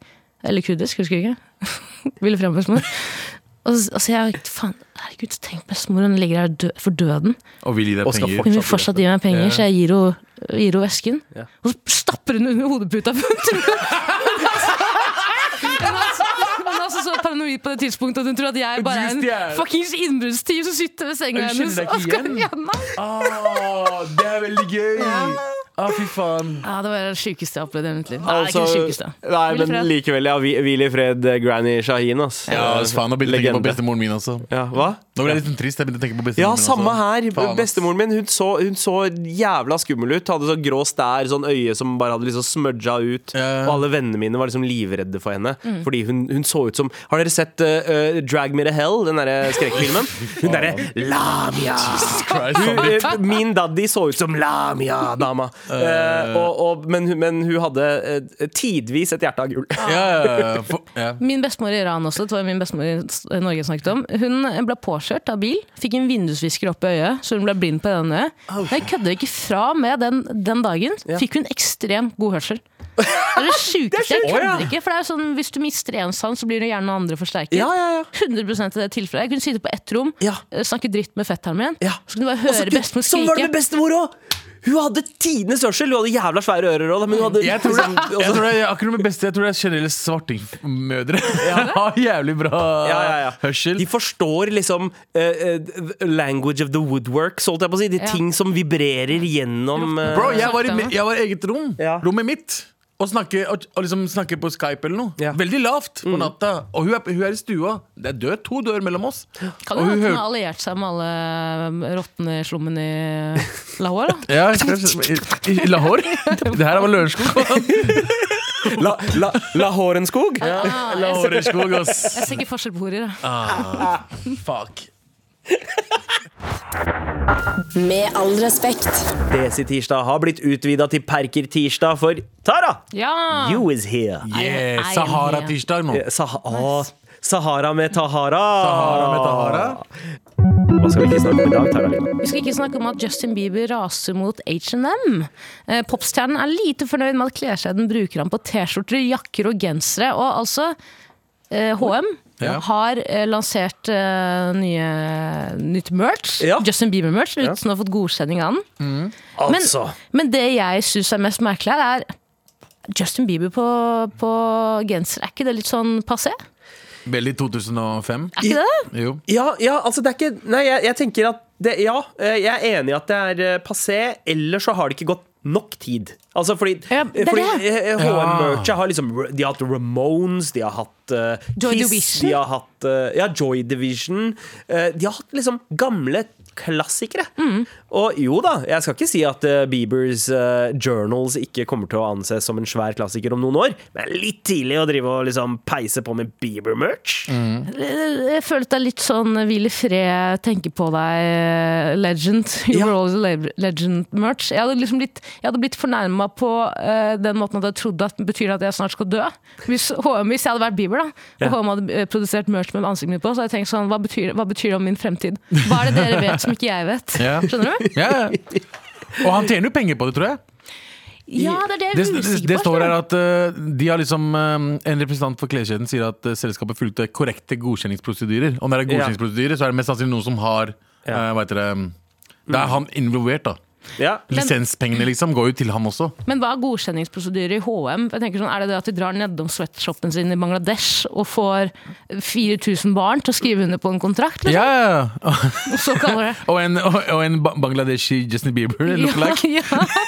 [SPEAKER 4] Eller kurdisk, husker jeg ikke. [LAUGHS] Ville frem bestemor. Og så og så jeg, faen, herregud, tenk bestemor, hun ligger her dø for døden.
[SPEAKER 3] Og vil gi deg
[SPEAKER 2] Og skal
[SPEAKER 3] penger.
[SPEAKER 2] fortsatt
[SPEAKER 4] Hun vil fortsatt gi meg penger,
[SPEAKER 3] Ja.
[SPEAKER 4] så jeg gir henne gir henne vesken.
[SPEAKER 2] Ja.
[SPEAKER 4] Og så stapper hun under hodeputa. for Hun
[SPEAKER 2] [LAUGHS]
[SPEAKER 4] tror Hun er altså- hun er altså så paranoid på det tidspunktet at hun tror at jeg bare er
[SPEAKER 3] Du stjel.
[SPEAKER 4] en fuckings innbruddstyv som sitter ved senga
[SPEAKER 3] Hun
[SPEAKER 4] hennes.
[SPEAKER 3] kjenner deg ikke
[SPEAKER 4] og skal-
[SPEAKER 3] igjen.
[SPEAKER 4] Ja, nei.
[SPEAKER 3] Ah, det er veldig gøy! Å, fy faen.
[SPEAKER 4] Ja, det var det sjukeste jeg har opplevd i mitt liv. Nei,
[SPEAKER 2] Altså,
[SPEAKER 4] ikke det sjukeste.
[SPEAKER 2] nei,
[SPEAKER 4] Hvil i
[SPEAKER 2] men
[SPEAKER 4] fred.
[SPEAKER 2] likevel, ja. hvi- Hvil i fred, eh, Granny Shahin, ass.
[SPEAKER 3] Ja, altså, faen, nå begynte jeg å tenke på
[SPEAKER 2] Legende.
[SPEAKER 3] bestemoren min også.
[SPEAKER 2] Ja, hva?
[SPEAKER 3] Nå ble jeg litt trist. Jeg begynte å tenke på bestemoren
[SPEAKER 2] Ja,
[SPEAKER 3] min
[SPEAKER 2] samme her.
[SPEAKER 3] også. Faen, ass.
[SPEAKER 2] Bestemoren min hun så, hun så jævla skummel ut. Hadde sånn grå stær, sånn øye som bare hadde liksom smudga ut.
[SPEAKER 3] Ja.
[SPEAKER 2] Og alle vennene mine var liksom livredde for henne. Fordi hun, hun så ut som Har dere sett eh, eh, Drag Me To Hell, den derre
[SPEAKER 3] [LAUGHS]
[SPEAKER 2] skrekkfilmen? Hun derre Lamia!
[SPEAKER 3] Christ,
[SPEAKER 2] Hun,
[SPEAKER 3] faen.
[SPEAKER 2] eh, min daddy så ut som Lamia-dama. Eh, og, og, men, hun- men hun hadde eh, tidvis et hjerte av gull.
[SPEAKER 3] Ja, ja, ja. For, ja.
[SPEAKER 4] Min bestemor i Iran også, det var min bestemor i S- Norge snakket om, hun ble påkjørt av bil, fikk en vindusvisker opp i øyet, så hun ble blind på det ene øyet. Men jeg kødder ikke fra med den, den dagen, fikk hun ekstremt god
[SPEAKER 2] [LAUGHS]
[SPEAKER 4] hørsel. Det er det sjukeste. Jeg
[SPEAKER 2] sjukt. Å,
[SPEAKER 4] kødder
[SPEAKER 2] ja.
[SPEAKER 4] ikke. For det er jo sånn, hvis du mister én sans, så blir det gjerne andre forsterket.
[SPEAKER 2] Ja, ja, ja.
[SPEAKER 4] 100 i det tilfellet. Jeg kunne sitte på ett rom,
[SPEAKER 2] Ja.
[SPEAKER 4] eh, snakke dritt med fetteren min,
[SPEAKER 2] Ja.
[SPEAKER 4] så kunne du bare
[SPEAKER 2] Og så-
[SPEAKER 4] høre bestemor
[SPEAKER 2] Sånn var det med
[SPEAKER 4] skrike.
[SPEAKER 2] bestemor òg! Hun hadde tidenes hørsel. Hun hadde jævla svære ører òg, men hun hadde liksom
[SPEAKER 3] Jeg tror,
[SPEAKER 2] [LAUGHS]
[SPEAKER 3] det, jeg, tror det, er akkurat med beste, jeg tror det er generelle svartingmødre. [LAUGHS] Har jævlig bra
[SPEAKER 2] ja, ja, ja.
[SPEAKER 3] hørsel.
[SPEAKER 2] altså, De forstår liksom eh, eh, the language of the woodwork, så holdt jeg på å si. De
[SPEAKER 4] Ja.
[SPEAKER 2] ting som vibrerer gjennom eh,
[SPEAKER 3] Bro, jeg var, i, mi- jeg var i eget rom.
[SPEAKER 2] Ja.
[SPEAKER 3] Rommet mitt. Og snakke, og, og liksom snakke på Skype eller noe.
[SPEAKER 2] Ja. Mm.
[SPEAKER 3] Veldig lavt på natta. Og hun er, hun er i stua. Det er dør, to dører mellom oss. Og
[SPEAKER 4] Kan
[SPEAKER 3] hun
[SPEAKER 4] jo hende hun
[SPEAKER 3] hør-
[SPEAKER 4] har alliert seg med alle eh, rottene i slummen i
[SPEAKER 2] [LAUGHS]
[SPEAKER 4] Lahore, da.
[SPEAKER 3] Ja, i, i, i
[SPEAKER 4] [LAUGHS]
[SPEAKER 3] Lahore. Det her var Lørenskog.
[SPEAKER 2] [LAUGHS] La, la, Lahorenskog.
[SPEAKER 4] Ah, jeg ser-
[SPEAKER 3] [LAUGHS] Lahoreskog, ass.
[SPEAKER 4] Jeg ser ikke forskjell på horer, da.
[SPEAKER 3] Fuck.
[SPEAKER 1] Med all respekt.
[SPEAKER 2] Desi-tirsdag har blitt utvida til Perker-tirsdag, for Tara,
[SPEAKER 4] Ja!
[SPEAKER 2] you is here.
[SPEAKER 3] Yeah,
[SPEAKER 4] Nei,
[SPEAKER 3] Sahara-tirsdag nå.
[SPEAKER 2] Eh, Sah Å, Sahara med Tahara.
[SPEAKER 3] Sahara
[SPEAKER 2] Ah.
[SPEAKER 3] med Tahara.
[SPEAKER 2] Hva skal vi ikke snakke om i dag, Tara Lina?
[SPEAKER 4] Vi skal ikke snakke om at Justin Bieber raser mot H&M. Eh, Popstjernen er lite fornøyd med at kleskjeden bruker ham på T-skjorter, jakker og gensere. Og altså, eh, HM
[SPEAKER 3] Ja.
[SPEAKER 4] har eh, lansert eh, nye, nytt merch.
[SPEAKER 2] Ja.
[SPEAKER 4] Justin Bieber-merch, uten å ha fått godkjenning av den. Men,
[SPEAKER 2] Altså.
[SPEAKER 4] men det jeg syns er mest merkelig her, er Justin Bieber på, på genser, er ikke det litt sånn passé?
[SPEAKER 2] [LAUGHS]
[SPEAKER 3] Veldig 2005.
[SPEAKER 4] Er ikke det det?
[SPEAKER 3] Jo.
[SPEAKER 2] Ja, ja, altså det er ikke Nei, jeg, jeg tenker at det, Ja, eh, jeg er enig i at det er eh, passé, ellers så har det ikke gått nok tid. Altså fordi,
[SPEAKER 4] Ja, det er
[SPEAKER 2] fordi
[SPEAKER 4] det.
[SPEAKER 2] eh, HM-merchet har liksom De har hatt Ramones, de har hatt eh,
[SPEAKER 4] Joy
[SPEAKER 2] Kiss,
[SPEAKER 4] Division.
[SPEAKER 2] de har hatt eh, Ja, Joy Division. Eh, de har hatt liksom gamle klassikere.
[SPEAKER 4] Mm.
[SPEAKER 2] Og jo da, jeg skal ikke si at eh, Biebers eh, Journals ikke kommer til å anses som en svær klassiker om noen år, men det er litt tidlig å drive og liksom peise på med Bieber-merch.
[SPEAKER 4] Jeg føler at det er litt sånn hvil i fred, tenke på deg, eh, legend. You
[SPEAKER 2] Ja.
[SPEAKER 4] were always a le- legend-merch. Jeg hadde liksom litt, jeg hadde blitt fornærma på eh, den måten at jeg trodde at betyr det at jeg snart skal dø. Hvis, HM, hvis jeg hadde vært Bieber, da, og HM hadde eh, produsert merch med ansiktet mitt på, så hadde jeg tenkt sånn, hva betyr, hva betyr det om min fremtid? Hva er det dere vet som ikke jeg vet?
[SPEAKER 3] Ja. [LAUGHS]
[SPEAKER 4] Skjønner du?
[SPEAKER 3] Ja, ja. Og han tjener jo penger på det, tror jeg.
[SPEAKER 4] Ja, det
[SPEAKER 3] Det,
[SPEAKER 4] er det jeg er
[SPEAKER 3] det,
[SPEAKER 4] usikker på.
[SPEAKER 3] det står
[SPEAKER 4] skjønner
[SPEAKER 3] her
[SPEAKER 4] du?
[SPEAKER 3] at eh, de har liksom eh, En representant for kleskjeden sier at eh, selskapet fulgte korrekte godkjenningsprosedyrer. Og når det er
[SPEAKER 2] Ja.
[SPEAKER 3] godkjenningsprosedyrer, så er det mest sannsynlig noen som har
[SPEAKER 2] Ja.
[SPEAKER 3] eh, hva heter det
[SPEAKER 4] Mm.
[SPEAKER 3] Da er han involvert, da.
[SPEAKER 2] Ja.
[SPEAKER 3] Lisenspengene liksom går jo til han også.
[SPEAKER 4] Men hva er godkjenningsprosedyrer i HM? Jeg tenker sånn, Er det det at de drar nedom sweatshopen sin i Bangladesh og får 4000 barn til å skrive under på en kontrakt? Liksom?
[SPEAKER 3] Ja, ja, ja.
[SPEAKER 4] Og så kaller det
[SPEAKER 3] Og en, og, og en ba- bangladeshi Justin Bieber look-like.
[SPEAKER 4] ja, [LAUGHS] ja,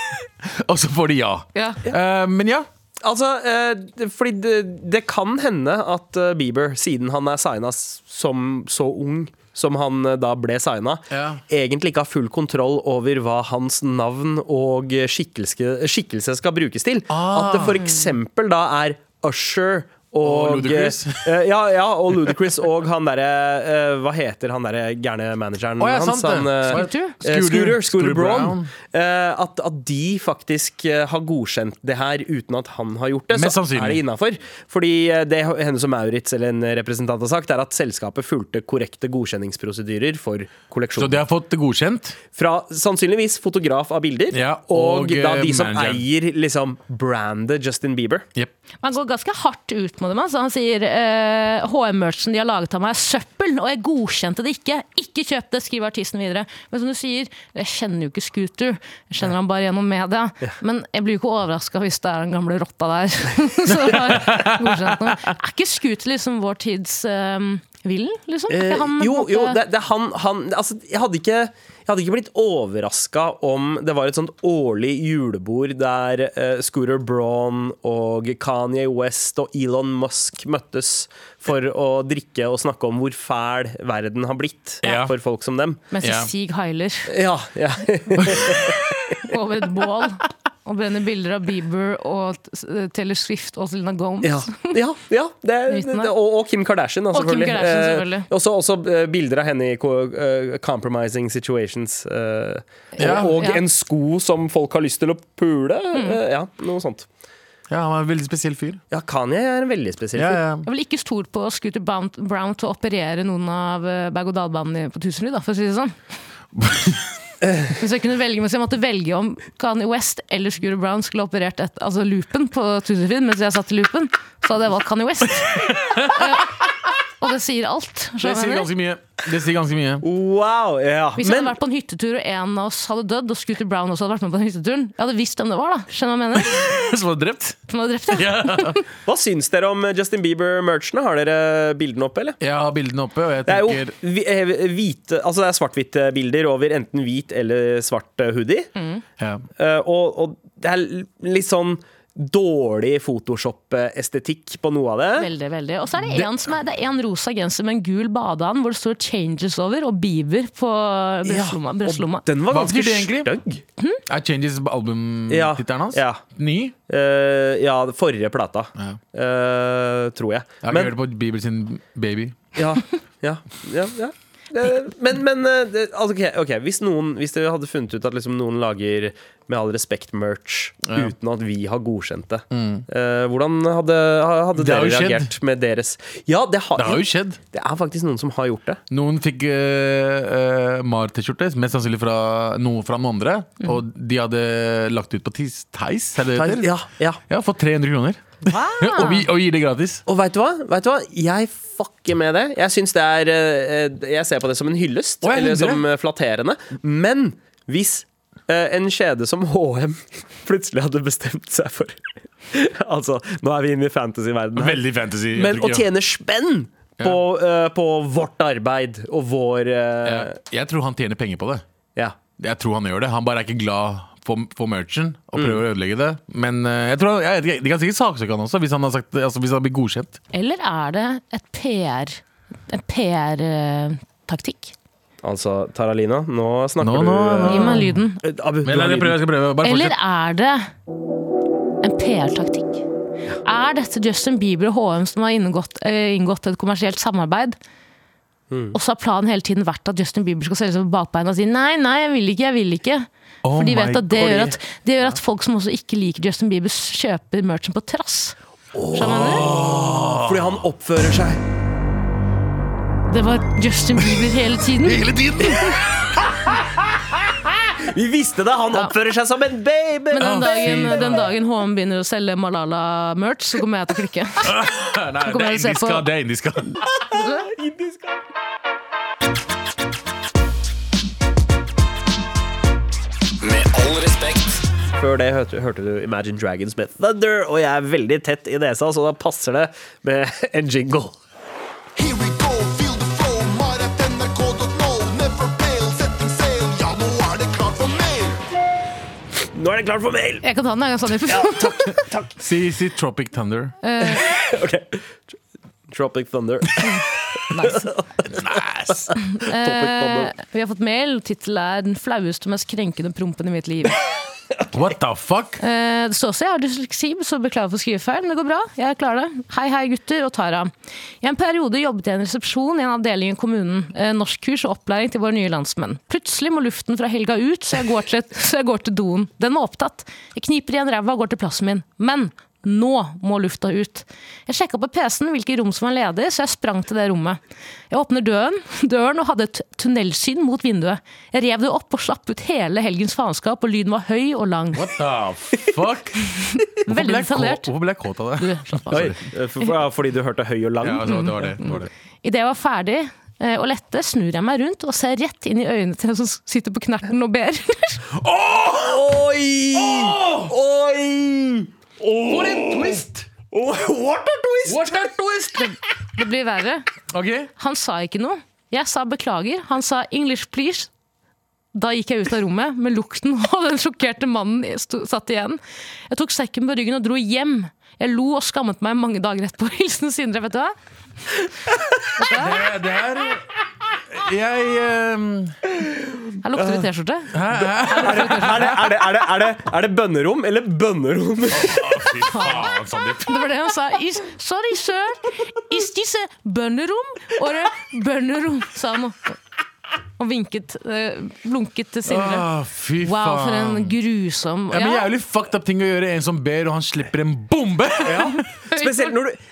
[SPEAKER 3] Og så får de ja.
[SPEAKER 4] ja.
[SPEAKER 3] Eh, men ja.
[SPEAKER 2] Altså, eh, det- fordi det, det kan hende at eh, Bieber, siden han er signa som så ung som han eh, da ble signa,
[SPEAKER 3] Ja.
[SPEAKER 2] egentlig ikke har full kontroll over hva hans navn og eh, skikkelse, skikkelse skal brukes til.
[SPEAKER 3] Ah.
[SPEAKER 2] At det for eksempel da er Usher og,
[SPEAKER 3] Og Ludacris.
[SPEAKER 2] eh, ja, ja, og Ludacris og han derre eh, Hva heter han derre gærne manageren
[SPEAKER 3] Å, ja, sant
[SPEAKER 2] hans?
[SPEAKER 3] det.
[SPEAKER 2] Han, eh,
[SPEAKER 3] Scooter?
[SPEAKER 2] eh,
[SPEAKER 3] Scooter.
[SPEAKER 2] Scooter, Scooter
[SPEAKER 3] Scooter
[SPEAKER 2] Braun.
[SPEAKER 3] Braun.
[SPEAKER 2] Eh, at, at de faktisk eh, har godkjent det her uten at han har gjort det,
[SPEAKER 3] Mest
[SPEAKER 2] så
[SPEAKER 3] sannsynlig.
[SPEAKER 2] er det innafor. Fordi eh, det Hennes og Maurits eller en representant har sagt, er at selskapet fulgte korrekte godkjenningsprosedyrer for
[SPEAKER 3] Så de
[SPEAKER 2] kolleksjonen.
[SPEAKER 3] har fått godkjent.
[SPEAKER 2] Fra sannsynligvis fotograf av bilder,
[SPEAKER 3] Ja,
[SPEAKER 2] og,
[SPEAKER 3] og,
[SPEAKER 2] da de
[SPEAKER 3] eh,
[SPEAKER 2] som
[SPEAKER 3] manageren.
[SPEAKER 2] eier liksom brandet Justin Bieber.
[SPEAKER 3] Jep.
[SPEAKER 4] Man går ganske hardt ut med dem. Altså. Han sier eh, HM-merchen de har laget av meg, er søppel, og jeg godkjente det ikke. Ikke kjøp det, skriver artisten videre. Men som du sier, jeg kjenner jo ikke Scooter. Jeg kjenner han bare gjennom media. Men jeg blir jo ikke overraska hvis det er den gamle rotta der [LAUGHS] som har godkjent noe. Er ikke Scooter liksom vår tids um, Villen, liksom? Er
[SPEAKER 2] Eh,
[SPEAKER 4] ikke han, på en
[SPEAKER 2] jo,
[SPEAKER 4] måte-
[SPEAKER 2] jo, det, det er han, han Altså, jeg hadde ikke Jeg hadde ikke blitt overraska om det var et sånt årlig julebord der eh, Scooter Braun og Kanye West og Elon Musk møttes for å drikke og snakke om hvor fæl verden har blitt
[SPEAKER 3] Ja.
[SPEAKER 2] for folk som dem.
[SPEAKER 4] Mens
[SPEAKER 3] Ja.
[SPEAKER 4] Sig Heiler
[SPEAKER 2] Ja, ja. [LAUGHS]
[SPEAKER 4] over et bål og brenner bilder av Bieber og t- Taylor Swift og Selena Gomez.
[SPEAKER 2] Ja, ja, ja det,
[SPEAKER 4] I midten der.
[SPEAKER 2] det, og, og Kim Kardashian, da,
[SPEAKER 4] Og Kim
[SPEAKER 2] selvfølgelig.
[SPEAKER 4] Kardashian, selvfølgelig.
[SPEAKER 2] Eh, også, også eh, bilder av henne i ko- eh, compromising situations. eh,
[SPEAKER 3] Ja.
[SPEAKER 2] og og
[SPEAKER 4] Ja. Mm.
[SPEAKER 2] en sko som folk har lyst til å pule. eh, ja, noe sånt.
[SPEAKER 3] Ja, han var en veldig spesiell fyr.
[SPEAKER 2] Ja, Kanye er en veldig spesiell
[SPEAKER 3] Ja,
[SPEAKER 2] fyr.
[SPEAKER 3] ja.
[SPEAKER 4] Jeg er vel ikke stor på Scooter Brown, Brown til å operere noen av eh, berg-og-dal-banene på Tusenfryd, da, for å si
[SPEAKER 3] [LAUGHS]
[SPEAKER 4] det sånn. Hvis jeg kunne velge, hvis jeg måtte velge om Kanye West eller Scooter Brown skulle operert et, altså loopen på Tusenfryd mens jeg satt i loopen, så hadde jeg valgt Kanye
[SPEAKER 3] [LAUGHS]
[SPEAKER 4] West. Ja. Og det sier alt.
[SPEAKER 3] Det
[SPEAKER 4] skjønner du
[SPEAKER 3] sier
[SPEAKER 4] hva jeg mener?
[SPEAKER 3] ganske mye. Det sier ganske mye. [LAUGHS]
[SPEAKER 2] Wow, ja.
[SPEAKER 4] Hvis jeg hadde vært på en hyttetur og en av oss hadde dødd, og Scooter Brown også hadde vært med på den hytteturen, jeg hadde visst hvem det var, da. Skjønner du hva jeg mener?
[SPEAKER 3] Som var drept.
[SPEAKER 4] Som hadde drept deg.
[SPEAKER 2] Hva syns dere om Justin Bieber-merchene? Har dere bildene oppe, eller?
[SPEAKER 3] Jeg har bildene oppe, og jeg
[SPEAKER 2] Det er jo
[SPEAKER 3] tenker
[SPEAKER 2] hvi- eh, hvite, altså det er svart-hvite bilder over enten hvit eller svart eh, hoodie.
[SPEAKER 3] ja.
[SPEAKER 2] Eh, og, og det er litt sånn dårlig Photoshop-estetikk på noe av det.
[SPEAKER 4] Veldig, veldig. Og så er det, en som er, det er en rosa genser med en gul badeand hvor det står 'Changes' over, og Bieber på brystlomma.
[SPEAKER 2] og
[SPEAKER 4] brystlomma.
[SPEAKER 2] Den var
[SPEAKER 3] Hva
[SPEAKER 2] ganske
[SPEAKER 3] betyr det egentlig?
[SPEAKER 2] stygg.
[SPEAKER 3] Er Changes albumtittelen hans?
[SPEAKER 2] Ja.
[SPEAKER 3] Ny?
[SPEAKER 2] Eh, ja, forrige plata.
[SPEAKER 3] Ja.
[SPEAKER 2] Eh, tror jeg.
[SPEAKER 3] Jeg har ikke
[SPEAKER 2] Men
[SPEAKER 3] hørt på Bieber sin Baby.
[SPEAKER 2] ja, ja, ja, ja. Eh, Men, men eh, det- altså, ok, ok, hvis, noen, hvis dere hadde funnet ut at liksom noen lager Med all respekt merch
[SPEAKER 3] Ja. Mm.
[SPEAKER 2] uten at vi har godkjent det, eh, hvordan hadde, hadde
[SPEAKER 3] Det har
[SPEAKER 2] dere
[SPEAKER 3] jo skjedd.
[SPEAKER 2] reagert med deres Ja, det, har,
[SPEAKER 3] Det har jo skjedd.
[SPEAKER 2] det er faktisk noen som har gjort det.
[SPEAKER 3] Noen fikk uh, Mar-T-skjorte, mest sannsynlig fra noe fra noen andre.
[SPEAKER 2] Mm.
[SPEAKER 3] Og de hadde lagt ut på Tis, Theis, er det det heter?
[SPEAKER 2] Ja, ja.
[SPEAKER 3] Ja, fått 300 kroner. [LAUGHS] og, vi, og gir det gratis.
[SPEAKER 2] Og veit du hva? Vet du hva? Jeg fucker med det. Jeg syns det er eh, Jeg ser på det som en hyllest,
[SPEAKER 3] Å, jeg
[SPEAKER 2] eller
[SPEAKER 3] hundre.
[SPEAKER 2] som eh, flatterende. Men hvis eh, en kjede som HM [LAUGHS] plutselig hadde bestemt seg for [LAUGHS] Altså, nå er vi inne i fantasyverdenen. her.
[SPEAKER 3] Veldig fantasy.
[SPEAKER 2] Men å tjene spenn på, eh, på vårt arbeid og vår
[SPEAKER 3] ja.
[SPEAKER 2] eh,
[SPEAKER 3] Jeg tror han tjener penger på det.
[SPEAKER 2] Ja.
[SPEAKER 3] Jeg tror han gjør det. Han bare er ikke glad for, for merchen og prøver
[SPEAKER 2] Mm.
[SPEAKER 3] å ødelegge det. Men eh, jeg tror han, jeg, vet ikke, de kan sikkert saksøke han også, hvis han, har sagt, altså, hvis han blir godkjent.
[SPEAKER 4] Eller er det et PR, en eh, PR-taktikk?
[SPEAKER 2] Altså, Taralina, nå snakker
[SPEAKER 3] Nå, nå,
[SPEAKER 2] du
[SPEAKER 4] Gi meg lyden.
[SPEAKER 2] eh, Abu, du
[SPEAKER 3] Men
[SPEAKER 2] har
[SPEAKER 3] jeg, prøver,
[SPEAKER 2] lyden.
[SPEAKER 3] jeg skal prøve. Bare
[SPEAKER 4] Eller [LAUGHS]
[SPEAKER 3] fortsett.
[SPEAKER 4] er det en PR-taktikk? Er dette Justin Bieber og HM som har inngått, eh, inngått et kommersielt samarbeid?
[SPEAKER 3] Mm.
[SPEAKER 4] Og så har planen hele tiden vært at Justin Bieber skal selge seg på bakbeina og si nei, nei, jeg vil ikke, jeg vil ikke.
[SPEAKER 3] Oh
[SPEAKER 4] For de
[SPEAKER 3] my
[SPEAKER 4] vet at det
[SPEAKER 3] God.
[SPEAKER 4] gjør at, det gjør at folk som også ikke liker Justin Bieber, s- kjøper merchen på trass. Skjønner du?
[SPEAKER 2] Fordi han oppfører seg.
[SPEAKER 4] Det var Justin Bieber hele tiden.
[SPEAKER 3] Hele tiden!
[SPEAKER 2] Vi visste det! Han oppfører seg som en baby!
[SPEAKER 4] Men den
[SPEAKER 3] Ja, fy
[SPEAKER 4] dagen,
[SPEAKER 3] faen.
[SPEAKER 4] den dagen HM begynner å selge Malala-merch, så kommer jeg til å klikke.
[SPEAKER 3] [LAUGHS] Nei,
[SPEAKER 4] kommer
[SPEAKER 3] det er
[SPEAKER 4] jeg til å se
[SPEAKER 3] indiska.
[SPEAKER 4] på-
[SPEAKER 3] Det er indiska.
[SPEAKER 5] Med all respekt.
[SPEAKER 2] Før det hørte, hørte du Imagine Dragons med Thunder, og jeg er veldig tett i nesa, så da passer det med [LAUGHS] en jingle.
[SPEAKER 5] Here we go, feel the flow. Mar.nrk.no, never fail, setting sail. Ja, nå er det klart for mer.
[SPEAKER 2] Nå er det klart for mail!
[SPEAKER 4] Jeg kan ta den, jeg kan ta den. i-
[SPEAKER 3] [LAUGHS] Si, si Tropic Thunder.
[SPEAKER 4] Eh.
[SPEAKER 2] Ok. Tropic Thunder. nice. Tropic Thunder.
[SPEAKER 4] Eh, vi har fått mail. Tittelen er 'Den flaueste og mest krenkende prompen i mitt liv'.
[SPEAKER 3] What the fuck?
[SPEAKER 4] Eh, det står også jeg har dysleksi, så beklager for skrivefeil, men det går bra. Jeg klarer det. Hei, hei, gutter og Tara. I en periode jobbet jeg i en resepsjon i en avdeling i kommunen. Eh, norskkurs og opplæring til våre nye landsmenn. Plutselig må luften fra helga ut, så jeg går til, [LAUGHS] så jeg går til doen. Den var opptatt. Jeg kniper igjen ræva og går til plassen min. Men nå må lufta ut. Jeg sjekka på PC-en hvilke rom som var ledig, så jeg sprang til det rommet. Jeg åpner døren, [LAUGHS] døren og hadde et tunnelsyn mot vinduet. Jeg rev det opp og slapp ut hele helgens faenskap, og lyden var høy og lang.
[SPEAKER 3] What the fuck? Hvorfor
[SPEAKER 4] [LAUGHS] Veldig
[SPEAKER 3] ble jeg kå-
[SPEAKER 4] detaljert.
[SPEAKER 3] Hvorfor ble jeg kåt av det?
[SPEAKER 2] Oi, eh, for, for, fordi du hørte høy og lang?
[SPEAKER 3] Ja, altså, det var det. det, var det.
[SPEAKER 4] Idet jeg var ferdig eh, å lette, snur jeg meg rundt og ser rett inn i øynene til en som sitter på knerten og ber. [LAUGHS]
[SPEAKER 2] Oi! Oi!
[SPEAKER 3] For en twist!
[SPEAKER 2] What a twist!
[SPEAKER 3] What a twist!
[SPEAKER 4] Det blir verre.
[SPEAKER 3] Ok, eh,
[SPEAKER 4] Han sa ikke noe. Jeg sa beklager. Han sa 'English, please'. Da gikk jeg ut av rommet med lukten, [LAUGHS] og den sjokkerte mannen sto- satt igjen. Jeg tok sekken på ryggen og dro hjem. Jeg lo og skammet meg mange dager etterpå. [LAUGHS] Hilsen Sindre, vet du hva?
[SPEAKER 3] Det, det er Jeg eh,
[SPEAKER 4] Her lukter det T-skjorte.
[SPEAKER 2] Er det, er, det, er, det, er, det, er det bønnerom eller bønnerom?
[SPEAKER 3] Fy faen, Sandeep.
[SPEAKER 4] Det var det han sa. Is, sorry, sir. Is this a bønnerom? Or a bønnerom? sa han og, og vinket, eh, blunket til Sindre.
[SPEAKER 3] Å, Ah, Fy
[SPEAKER 4] Wow, for
[SPEAKER 3] faen.
[SPEAKER 4] en grusom
[SPEAKER 3] Ja, men
[SPEAKER 4] Ja.
[SPEAKER 3] Jævlig fucked up ting å gjøre. En som ber, og han slipper en bombe!
[SPEAKER 2] Spesielt når du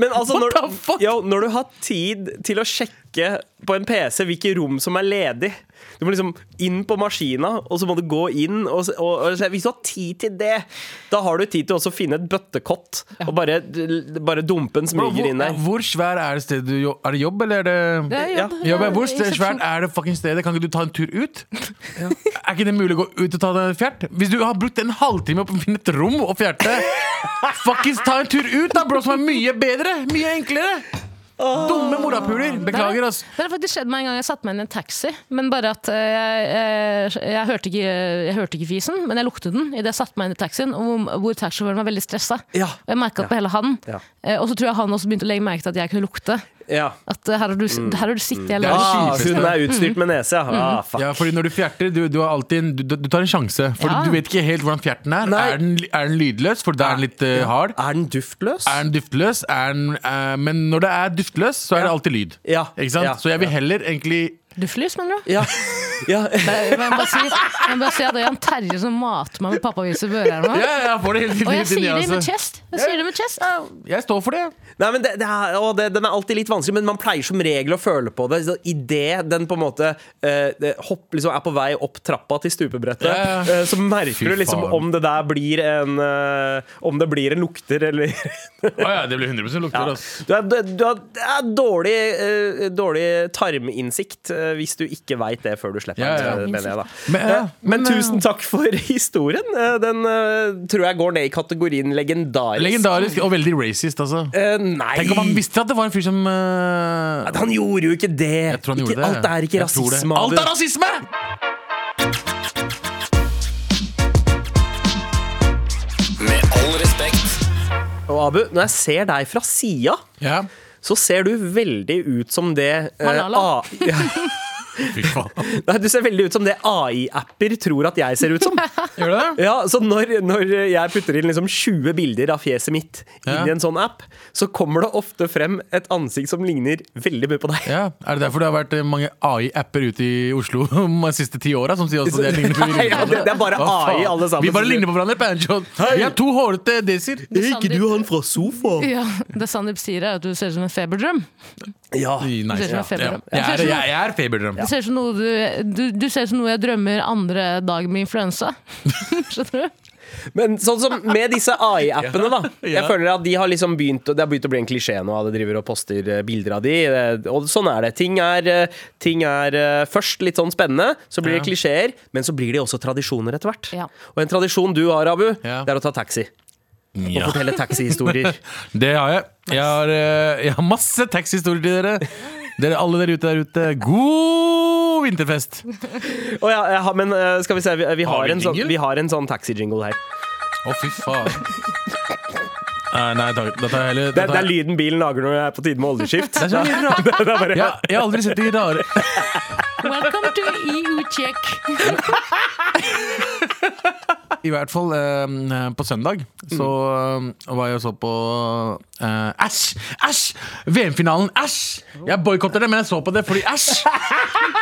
[SPEAKER 2] men altså, når,
[SPEAKER 3] What the fuck?
[SPEAKER 2] jo, når du har tid til å sjekke på en PC hvilke rom som er ledig Du må liksom inn på maskina, og så må du gå inn. Og, s- og, og, se- hvis du har tid til det, da har du tid til også å finne et bøttekott og bare, bare dumpe en
[SPEAKER 3] Bro,
[SPEAKER 2] smyger inn
[SPEAKER 3] [LAUGHS] hvor,
[SPEAKER 2] der.
[SPEAKER 3] hvor svær er det stedet du jo- Er det jobb, eller er det
[SPEAKER 4] Det er jobb.
[SPEAKER 2] Ja.
[SPEAKER 3] Jobb er
[SPEAKER 2] [LAUGHS]
[SPEAKER 3] hvor
[SPEAKER 4] Det er
[SPEAKER 3] st- svært er det fucking stedet? Kan ikke du ta en tur ut? Er ikke det mulig å gå ut og ta deg en fjert? Hvis du har brukt en halvtime på å finne et rom og fjerte, fuckings ta en tur ut, da, bro, som er mye bedre! Mye enklere! Dumme morapuler.
[SPEAKER 4] Det
[SPEAKER 3] Beklager,
[SPEAKER 4] har-
[SPEAKER 3] ass.
[SPEAKER 4] Det har faktisk skjedd meg en gang jeg satte meg inn i en taxi. Men bare at eh, jeg, jeg, jeg, hørte ikke, jeg hørte ikke fisen, men jeg luktet den idet jeg satte meg inn i taxien, og hvor, hvor taxisjåføren var veldig stressa.
[SPEAKER 2] Ja.
[SPEAKER 4] Og jeg merka det på hele han.
[SPEAKER 2] Ja.
[SPEAKER 4] Eh, Og så tror jeg han også begynte å legge merke til at jeg kunne lukte.
[SPEAKER 2] Ja.
[SPEAKER 4] At eh, her har du,
[SPEAKER 2] Mm.
[SPEAKER 4] her har du sittet jeg
[SPEAKER 3] Det er
[SPEAKER 4] lå-
[SPEAKER 2] Ah,
[SPEAKER 3] kjipeste.
[SPEAKER 2] hun er utstyrt med nese, ja. Ah, fuck.
[SPEAKER 3] Ja, fordi når du fjerter, du, du, har alltid en, du, du tar en sjanse. For
[SPEAKER 4] Ja.
[SPEAKER 3] du vet ikke helt hvordan fjerten er.
[SPEAKER 2] Nei.
[SPEAKER 3] Er den, er den lydløs? For da er den litt eh, hard.
[SPEAKER 2] Er den duftløs?
[SPEAKER 3] Er den duftløs? Er den, eh, men når det er duftløs, så er det alltid lyd.
[SPEAKER 2] Ja.
[SPEAKER 3] Ikke sant?
[SPEAKER 2] Ja.
[SPEAKER 3] Så jeg vil heller egentlig
[SPEAKER 4] Duftlys, mener du?
[SPEAKER 2] Ja. ja.
[SPEAKER 3] [LAUGHS]
[SPEAKER 4] Men jeg må bare si, jeg må bare si at det er Jan Terje som mater meg med pappaviser på øret her nå.
[SPEAKER 3] Ja, ja, jeg får det altså. hele tiden.
[SPEAKER 4] Og
[SPEAKER 3] hele tiden,
[SPEAKER 4] jeg sier det
[SPEAKER 3] jeg
[SPEAKER 4] med
[SPEAKER 3] også.
[SPEAKER 4] chest. Jeg sier det med chest.
[SPEAKER 3] Jeg står for det.
[SPEAKER 2] Nei, men det, det er, å, det, Den er alltid litt vanskelig, men man pleier som regel å føle på det. Idet den på en måte eh, det hopp, liksom er på vei opp trappa til stupebrettet,
[SPEAKER 3] Ja, ja.
[SPEAKER 2] eh, så merker
[SPEAKER 3] Fy
[SPEAKER 2] du liksom
[SPEAKER 3] faen.
[SPEAKER 2] om det der blir en eh, Om det blir en lukter, eller
[SPEAKER 3] Å ja, det blir 100 lukter, ass.
[SPEAKER 2] [LAUGHS] Du har du, du har- det er dårlig, eh, dårlig tarminnsikt eh, hvis du ikke veit det før du slipper
[SPEAKER 3] Ja, ja.
[SPEAKER 2] den. eh, mener jeg, da.
[SPEAKER 3] Men, ja,
[SPEAKER 2] Eh, Men
[SPEAKER 3] men, eh,
[SPEAKER 2] tusen takk for [LAUGHS] historien. Eh, Den eh, tror jeg går ned i kategorien legendarisk.
[SPEAKER 3] eh, Legendarisk og veldig racist, altså.
[SPEAKER 2] Eh, nei
[SPEAKER 3] Tenk om han visste at det var en fyr som eh,
[SPEAKER 2] At Han gjorde jo ikke det!
[SPEAKER 3] Jeg tror han
[SPEAKER 2] ikke,
[SPEAKER 3] gjorde det.
[SPEAKER 2] Alt er ikke
[SPEAKER 3] Jeg tror det.
[SPEAKER 2] rasisme.
[SPEAKER 3] Alt er
[SPEAKER 2] Abu.
[SPEAKER 3] rasisme!
[SPEAKER 6] Med all respekt.
[SPEAKER 2] Og Abu, når jeg ser deg fra sida,
[SPEAKER 3] Ja.
[SPEAKER 2] så ser du veldig ut som det eh,
[SPEAKER 4] Malala.
[SPEAKER 2] A- ja,
[SPEAKER 3] Fy faen.
[SPEAKER 2] nei, Du ser veldig ut som det AI-apper tror at jeg ser ut som.
[SPEAKER 3] Gjør det det?
[SPEAKER 2] Ja, så når, når jeg putter inn liksom 20 bilder av fjeset mitt
[SPEAKER 3] Ja.
[SPEAKER 2] inn i en sånn app, så kommer det ofte frem et ansikt som ligner veldig mye på deg.
[SPEAKER 3] Ja. Er det derfor det har vært eh, mange AI-apper ute i Oslo [LAUGHS] de siste ti åra? Som sier også det ligner
[SPEAKER 2] [LAUGHS]
[SPEAKER 3] på
[SPEAKER 2] Nei, ja, det, det er bare AI, alle sammen.
[SPEAKER 3] Vi bare ligner på hverandre. Pancho. Vi er to hårete desier.
[SPEAKER 4] Er ikke du
[SPEAKER 2] han fra sofaen?
[SPEAKER 4] Ja, det Sandeep sier, er at du ser ut som en feberdrøm.
[SPEAKER 2] Ja.
[SPEAKER 3] Nice.
[SPEAKER 4] Du ser ut som en feberdrøm.
[SPEAKER 3] Ja. Jeg er, jeg er feberdrøm.
[SPEAKER 4] Du ser ut som noe, du, du, du ser ut som noe jeg drømmer andre dag med influensa. Skjønner du?
[SPEAKER 2] Men sånn som med disse AI-appene, da. Jeg
[SPEAKER 3] [LAUGHS] Ja.
[SPEAKER 2] føler at de har liksom begynt å- Det har begynt å bli en klisjé nå. at De driver og poster eh, bilder av de. eh, Og sånn er det. Ting er, eh, ting er eh, først litt sånn spennende, så blir det
[SPEAKER 3] Ja.
[SPEAKER 2] klisjeer, men så blir de også tradisjoner etter hvert.
[SPEAKER 4] Ja.
[SPEAKER 2] Og en tradisjon du har, Abu,
[SPEAKER 3] Ja.
[SPEAKER 2] det er å ta taxi. Og
[SPEAKER 3] Ja.
[SPEAKER 2] fortelle taxihistorier.
[SPEAKER 3] [LAUGHS] Det har jeg. Jeg har, eh, jeg har masse taxihistorier til dere. Dere alle dere ute der ute, god vinterfest! Å,
[SPEAKER 2] Å ja, jeg har- men eh, skal vi se, vi, vi, har,
[SPEAKER 3] Har vi
[SPEAKER 2] en sånn,
[SPEAKER 3] jingle?
[SPEAKER 2] vi har en sånn taxi-jingle her.
[SPEAKER 3] fy faen. Nei, nei, takk. Da tar jeg heller
[SPEAKER 2] Det, er- det
[SPEAKER 3] da tar
[SPEAKER 2] er
[SPEAKER 3] jeg-
[SPEAKER 2] lyden bilen lager når jeg er på tide
[SPEAKER 3] [LAUGHS]
[SPEAKER 2] med oljeskift.
[SPEAKER 3] Det er så mye rart.
[SPEAKER 2] [LAUGHS] Det er bare-
[SPEAKER 3] Jeg, jeg har aldri sett de rare
[SPEAKER 4] Welcome to E EU-check.
[SPEAKER 3] I hvert fall eh, på søndag så eh, var jeg og så på eh, Æsj! Æsj! VM-finalen! Æsj! Jeg boikotter det, men jeg så på det fordi æsj!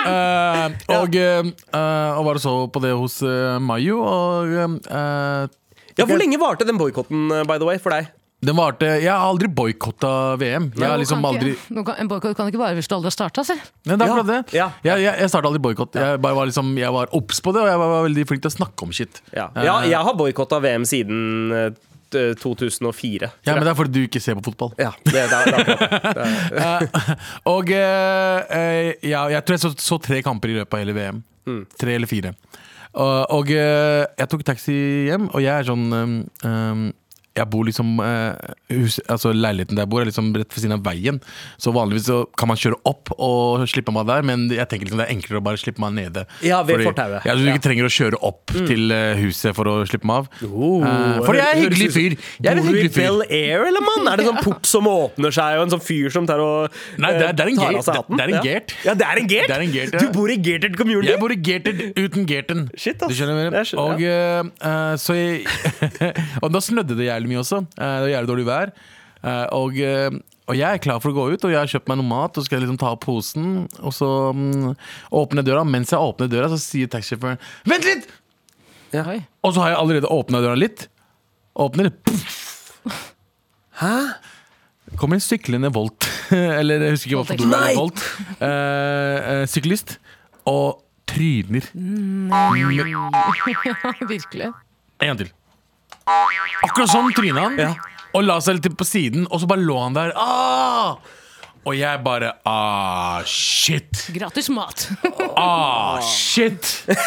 [SPEAKER 3] Eh, og, eh, eh, og var og så på det hos uh, Mayo, og eh,
[SPEAKER 2] Ja, hvor lenge varte den boikotten, eh, by the way, for deg?
[SPEAKER 3] Den varte Jeg har aldri boikotta VM. Jeg har liksom aldri
[SPEAKER 4] Nå kan, en boikott kan ikke bare hvis du aldri har starta, si. [LAUGHS]
[SPEAKER 3] Nei, det er akkurat det.
[SPEAKER 2] Ja.
[SPEAKER 3] Jeg, jeg, jeg starta aldri boikott. Jeg, bare var liksom, jeg var obs på det, og jeg var, var veldig flink til å snakke om shit.
[SPEAKER 2] Ja,
[SPEAKER 3] Eh,
[SPEAKER 2] ja jeg har boikotta VM siden eh, t- 2004.
[SPEAKER 3] ja, men det er fordi du ikke ser på fotball.
[SPEAKER 2] Ja, det, det, er- det, er akkurat [LAUGHS] det.
[SPEAKER 3] Og eh, eh, ja, jeg tror jeg så, så tre kamper i løpet av hele VM.
[SPEAKER 2] Mm.
[SPEAKER 3] Tre eller fire. Og, og eh, jeg tok taxi hjem, og jeg er sånn um, um, jeg bor liksom eh, hus, altså Leiligheten der jeg bor, er liksom rett ved siden av veien. Så vanligvis så kan man kjøre opp og slippe meg der, men jeg tenker liksom det er enklere å bare slippe meg nede.
[SPEAKER 2] Ja, ved fortauet.
[SPEAKER 3] Ja, så du
[SPEAKER 2] Ja. Mm.
[SPEAKER 3] ikke trenger å kjøre opp til eh, huset for å slippe meg av.
[SPEAKER 2] Oh,
[SPEAKER 3] Eh, for jeg er en
[SPEAKER 2] høres
[SPEAKER 3] hyggelig
[SPEAKER 2] ut som-
[SPEAKER 3] fyr. Jeg er
[SPEAKER 2] Bor
[SPEAKER 3] en
[SPEAKER 2] du i
[SPEAKER 3] hyggelig fyr.
[SPEAKER 2] Bel Air, eller mann? Er det sånn port som åpner seg, og en sånn fyr som tar og
[SPEAKER 3] Nei, det er- det er en
[SPEAKER 2] eh, tar
[SPEAKER 3] gate.
[SPEAKER 2] av seg hatten?
[SPEAKER 3] Det er en
[SPEAKER 2] Ja.
[SPEAKER 3] gate.
[SPEAKER 2] Ja, det er en gate?
[SPEAKER 3] Det er en gate, ja.
[SPEAKER 2] Du bor i gated community?
[SPEAKER 3] Jeg bor i gated uten gaten.
[SPEAKER 2] Shit, ass.
[SPEAKER 3] Du skjønner hva
[SPEAKER 2] Jeg
[SPEAKER 3] jeg mener?
[SPEAKER 2] skjønner,
[SPEAKER 3] Og, eh, eh, så jeg, [LAUGHS] og da snødde det jævlig mye også. Eh, det var jævlig dårlig vær. Eh, og, eh, og jeg er klar for å gå ut, og jeg har kjøpt meg noe mat. Og skal liksom ta opp posen, og så mm, åpner jeg døra. Mens jeg åpner døra, så sier taxisjåføren 'vent litt'!
[SPEAKER 4] Oi.
[SPEAKER 3] Og så har jeg allerede åpna døra litt. Åpner [LAUGHS] Hæ? Kommer en syklende Volt. [LAUGHS] Eller jeg husker ikke hva for noe det var,
[SPEAKER 2] Nei!
[SPEAKER 3] Volt. Eh, eh, syklist. Og tryner.
[SPEAKER 4] Virkelig.
[SPEAKER 3] En gang til. Akkurat sånn tryna han. Og la seg litt på siden, og så bare lå han der. Ah! Og jeg bare ah, shit.
[SPEAKER 4] Gratis mat.
[SPEAKER 3] Ah, shit. [LAUGHS]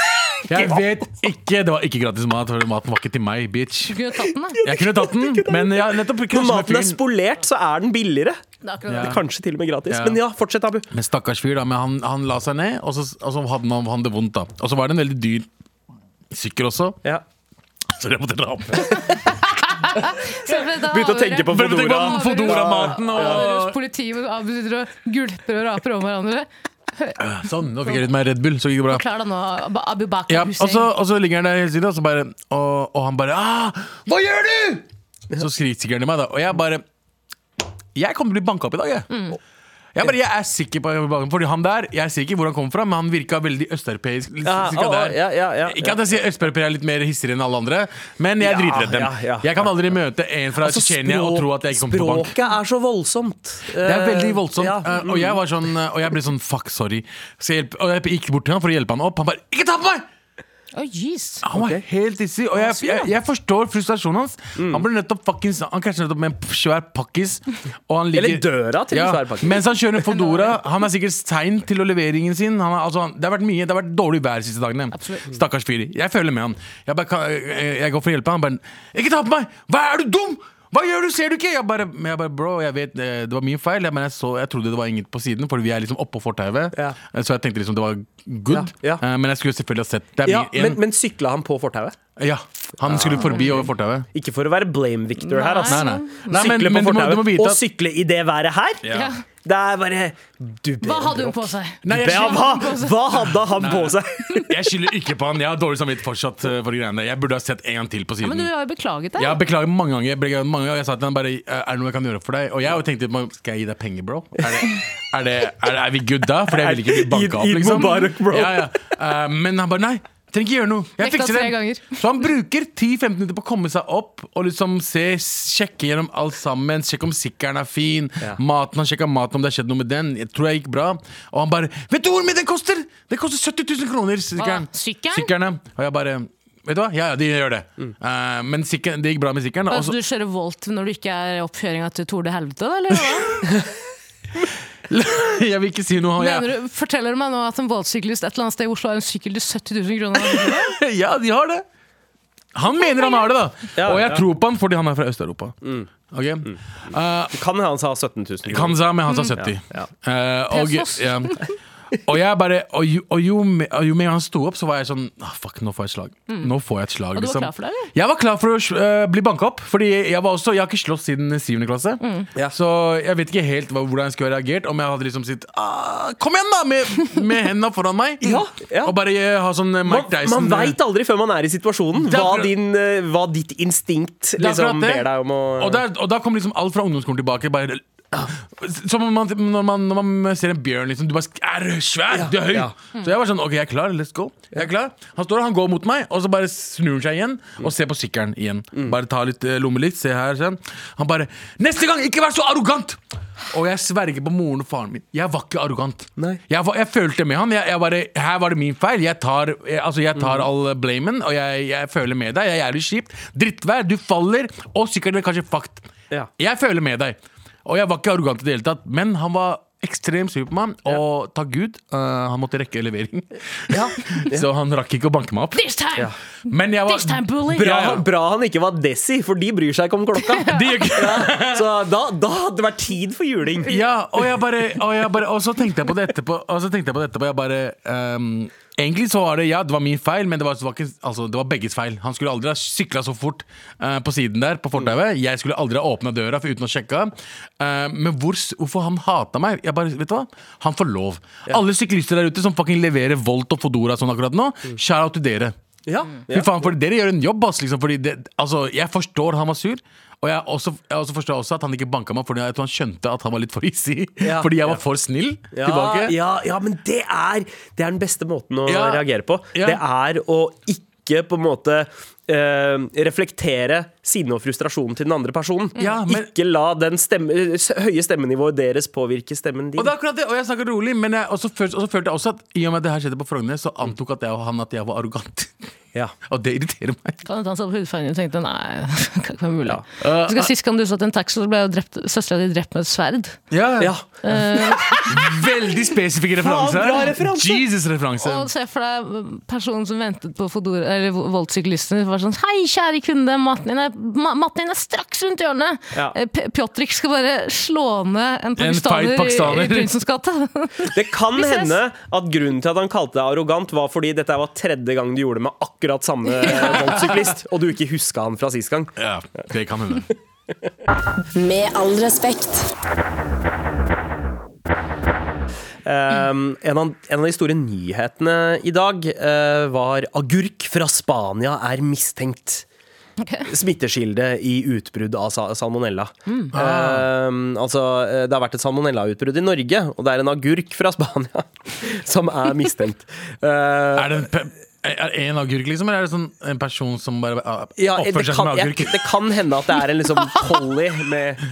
[SPEAKER 3] Jeg vet ikke. Det var ikke gratis mat, for maten var ikke til meg, bitch.
[SPEAKER 4] Kunne tatt den, da.
[SPEAKER 3] Jeg kunne tatt [LAUGHS] den, men jeg har nettopp
[SPEAKER 2] Når
[SPEAKER 3] krasjet med
[SPEAKER 2] maten er
[SPEAKER 3] fyren.
[SPEAKER 2] spolert, så er den billigere.
[SPEAKER 4] Det er akkurat
[SPEAKER 3] Ja.
[SPEAKER 4] det.
[SPEAKER 2] Kanskje til og med gratis.
[SPEAKER 3] Ja.
[SPEAKER 2] Men ja, fortsett, Abu.
[SPEAKER 3] Men stakkars fyr, da. Men han, han la seg ned, og så, og så hadde han, han det vondt, da. Og så var det en veldig dyr sykkel også,
[SPEAKER 2] Ja.
[SPEAKER 3] så jeg måtte dra [LAUGHS] opp.
[SPEAKER 4] Se for deg da
[SPEAKER 2] Begynte å tenke på
[SPEAKER 3] Prøvde å tenke
[SPEAKER 2] Fodora.
[SPEAKER 3] på Fodora-maten
[SPEAKER 4] Avhøres
[SPEAKER 3] og
[SPEAKER 4] Politiet hvor Abu sitter og gulper og raper om hverandre.
[SPEAKER 3] Sånn, nå fikk jeg litt mer Red Bull, så gikk det bra.
[SPEAKER 4] Klar da nå, Ab- Abu Bakr
[SPEAKER 3] Ja, altså- og
[SPEAKER 4] Hussein.
[SPEAKER 3] så, og så ligger han der hele tiden, og, så bare, og, og han bare ah, 'Hva gjør du?!' Så skriker han til meg, da. Og jeg bare Jeg kommer til å bli banka opp i dag, jeg.
[SPEAKER 2] Mm.
[SPEAKER 3] Jeg, bare, jeg er sikker på at jeg blir banket opp, Fordi han der, jeg ser ikke hvor han kom fra, men han virka veldig østeuropeisk. litt
[SPEAKER 2] Ja,
[SPEAKER 3] cirka
[SPEAKER 2] å, å,
[SPEAKER 3] der.
[SPEAKER 2] ja, ja, ja,
[SPEAKER 3] ikke at jeg sier østeuropeere er litt mer hissigere enn alle andre, men jeg
[SPEAKER 2] Ja,
[SPEAKER 3] er dritredd dem.
[SPEAKER 2] ja, ja,
[SPEAKER 3] jeg kan aldri møte en fra
[SPEAKER 2] Altså,
[SPEAKER 3] Tsjetsjenia og
[SPEAKER 2] språk-
[SPEAKER 3] tro at jeg ikke kommer til å bank.
[SPEAKER 2] Språket er så voldsomt.
[SPEAKER 3] Det er veldig
[SPEAKER 2] Eh,
[SPEAKER 3] voldsomt.
[SPEAKER 2] ja.
[SPEAKER 3] eh, Og jeg var sånn eh, Og jeg ble sånn fuck, sorry. Så jeg, hjelp- og jeg gikk bort til han for å hjelpe han opp. Han bare 'ikke ta på meg'!
[SPEAKER 4] Å, jeez.
[SPEAKER 3] Han var helt hissig, og jeg, jeg, jeg forstår frustrasjonen hans.
[SPEAKER 2] Mm.
[SPEAKER 3] Han ble nettopp fuckings Han krasja nettopp med en svær pakkis. Og han ligger,
[SPEAKER 2] Eller døra til en svær pakkis.
[SPEAKER 3] Mens han kjører en Fodora.
[SPEAKER 2] [LAUGHS]
[SPEAKER 3] Han er sikkert sein til leveringen sin. Han er, altså, han, det har vært mye, det har vært dårlig vær de siste dagene.
[SPEAKER 2] Mm.
[SPEAKER 4] Absolutt.
[SPEAKER 3] Stakkars fyr. Jeg føler med han. Jeg, bare, kan- jeg, jeg går for å hjelpe han. Han bare 'Ikke ta på meg! Hva er du dum?!' Hva gjør du, ser du ikke? Jeg bare, men jeg bare bro, jeg vet, eh, det var min feil, men jeg, så, jeg trodde det var ingen på siden, Fordi vi er liksom oppå fortauet.
[SPEAKER 2] Ja.
[SPEAKER 3] Eh, Så jeg tenkte liksom det var good.
[SPEAKER 2] Ja, ja.
[SPEAKER 3] Eh, Men jeg skulle selvfølgelig ha sett. Det er
[SPEAKER 2] Ja,
[SPEAKER 3] mye-
[SPEAKER 2] men, men sykla han på fortauet?
[SPEAKER 3] ja, han skulle forbi over fortauet.
[SPEAKER 2] Ikke for å være blame victor her, altså.
[SPEAKER 3] Nei, nei. nei men,
[SPEAKER 2] Sykle på
[SPEAKER 3] men du, må, du må
[SPEAKER 2] fortauet,
[SPEAKER 3] vite
[SPEAKER 2] og
[SPEAKER 3] at
[SPEAKER 2] sykle i det været her?
[SPEAKER 4] Ja.
[SPEAKER 2] Det er bare du ber
[SPEAKER 4] Hva
[SPEAKER 2] om
[SPEAKER 4] hadde hun
[SPEAKER 2] bråk.
[SPEAKER 4] på seg?
[SPEAKER 3] Nei,
[SPEAKER 2] Du
[SPEAKER 3] jeg
[SPEAKER 2] ber om
[SPEAKER 3] skylder,
[SPEAKER 2] hva? Hva hadde han på seg? [LAUGHS]
[SPEAKER 3] jeg skylder ikke på han. Jeg har dårlig samvittighet fortsatt eh, for de greiene. Jeg burde ha sett en gang til på
[SPEAKER 4] Ja,
[SPEAKER 3] siden.
[SPEAKER 4] men du har jo beklaget deg.
[SPEAKER 3] jeg beklager mange ganger. Jeg beklager mange ganger. Jeg sa til han bare eh, Er det noe jeg kan gjøre for deg? Og jeg tenkte Skal jeg gi deg penger, bro? Er, det, er, det, er, det, er vi good da? For jeg vil ikke bli
[SPEAKER 2] [LAUGHS] Eid-
[SPEAKER 3] banka opp,
[SPEAKER 2] Eid
[SPEAKER 3] liksom.
[SPEAKER 2] Mubarak, bro.
[SPEAKER 3] Ja, ja. Eh, men han bare Nei, trenger ikke gjøre noe. Jeg
[SPEAKER 4] Nekta
[SPEAKER 3] fikser
[SPEAKER 4] tre ganger.
[SPEAKER 3] det. Så han bruker 10-15 minutter på å komme seg opp og liksom se, sjekke gjennom alt sammen. Sjekke om sykkelen er fin,
[SPEAKER 2] Ja.
[SPEAKER 3] maten, han sjekka maten om det har skjedd noe med den. Jeg tror jeg gikk bra. Og han bare 'Vet du hvor mye den koster?!' Det koster 70 000 kroner, sykkelen.
[SPEAKER 4] Hva? Sykkelen?
[SPEAKER 3] Sykkelen, ja. Og jeg bare Vet du hva? Ja, ja, de gjør det.
[SPEAKER 2] Mm.
[SPEAKER 3] Eh, men sykkelen- det gikk bra med sykkelen. og
[SPEAKER 4] Altså,
[SPEAKER 3] så-
[SPEAKER 4] du kjører Volt når du ikke er i oppkjøringa til Tour de Helvete, da, eller hva?
[SPEAKER 3] [LAUGHS] jeg vil ikke si noe. Jeg,
[SPEAKER 4] Mener du, forteller du meg nå at en Volt-syklist et eller annet sted i Oslo har en sykkel til 70 000 kroner? [LAUGHS]
[SPEAKER 3] [LAUGHS] Ja, de har det. Han mener han har det, da.
[SPEAKER 2] Ja,
[SPEAKER 3] og jeg
[SPEAKER 2] ja. Mm.
[SPEAKER 3] tror på han fordi han er fra Øst-Europa. Ok? Eh,
[SPEAKER 2] Kan han sa 17 000
[SPEAKER 3] kan sa, men han
[SPEAKER 2] Mm.
[SPEAKER 3] sa 70. Eh, og,
[SPEAKER 4] Pesos.
[SPEAKER 3] ja. og jeg bare Og jo, og jo, me- og jo mer han sto opp, så var jeg sånn ah, Fuck, nå får jeg et slag. Nå får jeg et slag
[SPEAKER 4] Mm.
[SPEAKER 3] liksom.
[SPEAKER 4] Og du var klar for det, eller?
[SPEAKER 3] Jeg var klar for å eh, bli banka opp. Fordi jeg var også Jeg har ikke slåss siden 7. klasse.
[SPEAKER 4] Mm.
[SPEAKER 2] Ja.
[SPEAKER 3] Så jeg vet ikke helt hva, hvordan jeg skulle ha reagert. Om jeg hadde liksom sitt ah, Kom igjen, da! Med, med hendene foran meg.
[SPEAKER 2] Ja, ja.
[SPEAKER 3] Og bare eh, ha sånn eh,
[SPEAKER 2] Man,
[SPEAKER 3] Mike Dyson
[SPEAKER 2] man veit aldri før man er i situasjonen,
[SPEAKER 3] Det er
[SPEAKER 2] hva,
[SPEAKER 3] akkurat-
[SPEAKER 2] din, eh, hva ditt instinkt
[SPEAKER 3] Det er akkurat
[SPEAKER 2] liksom,
[SPEAKER 3] det.
[SPEAKER 2] ber deg om å
[SPEAKER 3] og, der, og da kom liksom alt fra ungdomsskolen tilbake. Bare, som om man, når, man, når man ser en bjørn, liksom. Du bare sk- er svær, du er høy!
[SPEAKER 2] ja.
[SPEAKER 3] Så jeg var sånn OK, jeg er klar, let's go. Jeg er klar. Han står og han går mot meg, og så bare snur han seg igjen og ser på sykkelen igjen.
[SPEAKER 2] Mm.
[SPEAKER 3] Bare ta litt eh, lommelykt, se her, se. Han bare Neste gang, ikke vær så arrogant! Og jeg sverger på moren og faren min. Jeg var ikke arrogant.
[SPEAKER 2] Nei.
[SPEAKER 3] Jeg, var, jeg følte med han. Jeg, jeg bare, her var det min feil. Jeg tar, jeg, altså jeg tar all blamen, og jeg, jeg føler med deg. Jeg er jævlig kjipt. Drittvær, du faller, og sykkelen er kanskje fucked.
[SPEAKER 2] Ja.
[SPEAKER 3] Jeg føler med deg. Og jeg var ikke arrogant i det hele tatt, men han var ekstremt sur på meg, og takk Gud, eh, han måtte rekke levering. [LAUGHS] Så han rakk ikke å banke meg opp.
[SPEAKER 4] This time!
[SPEAKER 3] Men jeg var
[SPEAKER 4] This time, bully!
[SPEAKER 2] Bra,
[SPEAKER 3] Ja, ja.
[SPEAKER 2] bra han ikke var Desi, for de bryr seg ikke om klokka.
[SPEAKER 3] [LAUGHS] De gjør ikke
[SPEAKER 2] Så da, da hadde det vært tid for juling.
[SPEAKER 3] Ja, og, jeg bare, og, jeg bare, og så tenkte jeg på det etterpå. Og så tenkte jeg på det etterpå Jeg bare ehm, Egentlig så var det ja, det var min feil, men det var, det var, ikke, altså, det var begges feil. Han skulle aldri ha sykla så fort eh, på siden der, på fortauet. Jeg skulle aldri ha åpna døra for, uten å sjekke. Eh, men hvor, s- hvorfor han hata meg? Jeg bare, vet du hva? Han får lov. Alle syklister der ute som fucking leverer Volt og Fodora sånn akkurat nå, shout out til dere.
[SPEAKER 2] Ja,
[SPEAKER 3] Fy faen, for Dere gjør en jobb, ass. Liksom, fordi det, altså, jeg forstår han var sur. Og jeg, også, jeg også forstår også at han ikke banka meg, Fordi jeg tror han skjønte at han var litt for hissig.
[SPEAKER 2] Ja,
[SPEAKER 3] [LAUGHS] Fordi jeg
[SPEAKER 2] ja.
[SPEAKER 3] var for snill
[SPEAKER 2] Ja,
[SPEAKER 3] tilbake.
[SPEAKER 2] ja, ja, men det er, det er den beste måten å
[SPEAKER 3] Ja.
[SPEAKER 2] reagere på.
[SPEAKER 3] Ja.
[SPEAKER 2] Det er å ikke på en måte eh, reflektere sinne og frustrasjonen til den andre personen.
[SPEAKER 3] Ja, men-
[SPEAKER 2] Ikke la den stemme, s- høye stemmenivået deres påvirke stemmen din.
[SPEAKER 3] Og det er akkurat det, og jeg snakker rolig, men jeg også følte, også følte jeg også at i og med at det her skjedde på Frogner, så antok at jeg og han at jeg var arrogant. [LAUGHS]
[SPEAKER 2] Ja.
[SPEAKER 3] Og det irriterer meg.
[SPEAKER 4] Kan hende han så sånn på hudfargen og tenkte nei, [LAUGHS] det kan ikke være mulig. Husker jeg Sist gang du satt i en taxi, så ble jo drept- søstera di drept med et sverd.
[SPEAKER 2] Ja.
[SPEAKER 3] Veldig spesifikke referanser.
[SPEAKER 2] bra referanse.
[SPEAKER 3] Jesus-referanse.
[SPEAKER 4] Og se for deg mm, personen som ventet på Fodora, eller Volt-syklisten. Var sånn Hei, kjære kunde, matten din er, ma matten din er straks rundt hjørnet!
[SPEAKER 2] Ja.
[SPEAKER 4] Eh, P- Pjotrik skal bare slå ned en
[SPEAKER 3] En feit
[SPEAKER 4] pakistaner,
[SPEAKER 3] pakistaner.
[SPEAKER 4] i, i Prinsens
[SPEAKER 3] [LAUGHS]
[SPEAKER 4] gate.
[SPEAKER 2] Det kan
[SPEAKER 4] Vi ses.
[SPEAKER 2] hende at grunnen til at han kalte deg arrogant, var fordi dette var tredje gang du gjorde det med akkurat samme
[SPEAKER 4] [LAUGHS]
[SPEAKER 2] voldssyklist, og du ikke huska han fra sist gang.
[SPEAKER 3] Ja, det kan hende.
[SPEAKER 1] Med all respekt.
[SPEAKER 2] Um, en, av, en av de store nyhetene i dag eh, var agurk fra Spania er mistenkt. Smittekilde i utbrudd av sa- salmonella.
[SPEAKER 3] Ah.
[SPEAKER 2] Um, altså, eh, det har vært et salmonellautbrudd i Norge, og det er en agurk fra Spania [LAUGHS] som er mistenkt. Eh,
[SPEAKER 3] Er det en, pe- er det en agurk, liksom? Eller er det sånn en person som bare ah,
[SPEAKER 2] ja, det,
[SPEAKER 3] oppfører seg
[SPEAKER 2] kan,
[SPEAKER 3] som en
[SPEAKER 2] jeg,
[SPEAKER 3] agurk?
[SPEAKER 2] det kan hende at det er en liksom polly
[SPEAKER 3] [LAUGHS]
[SPEAKER 2] med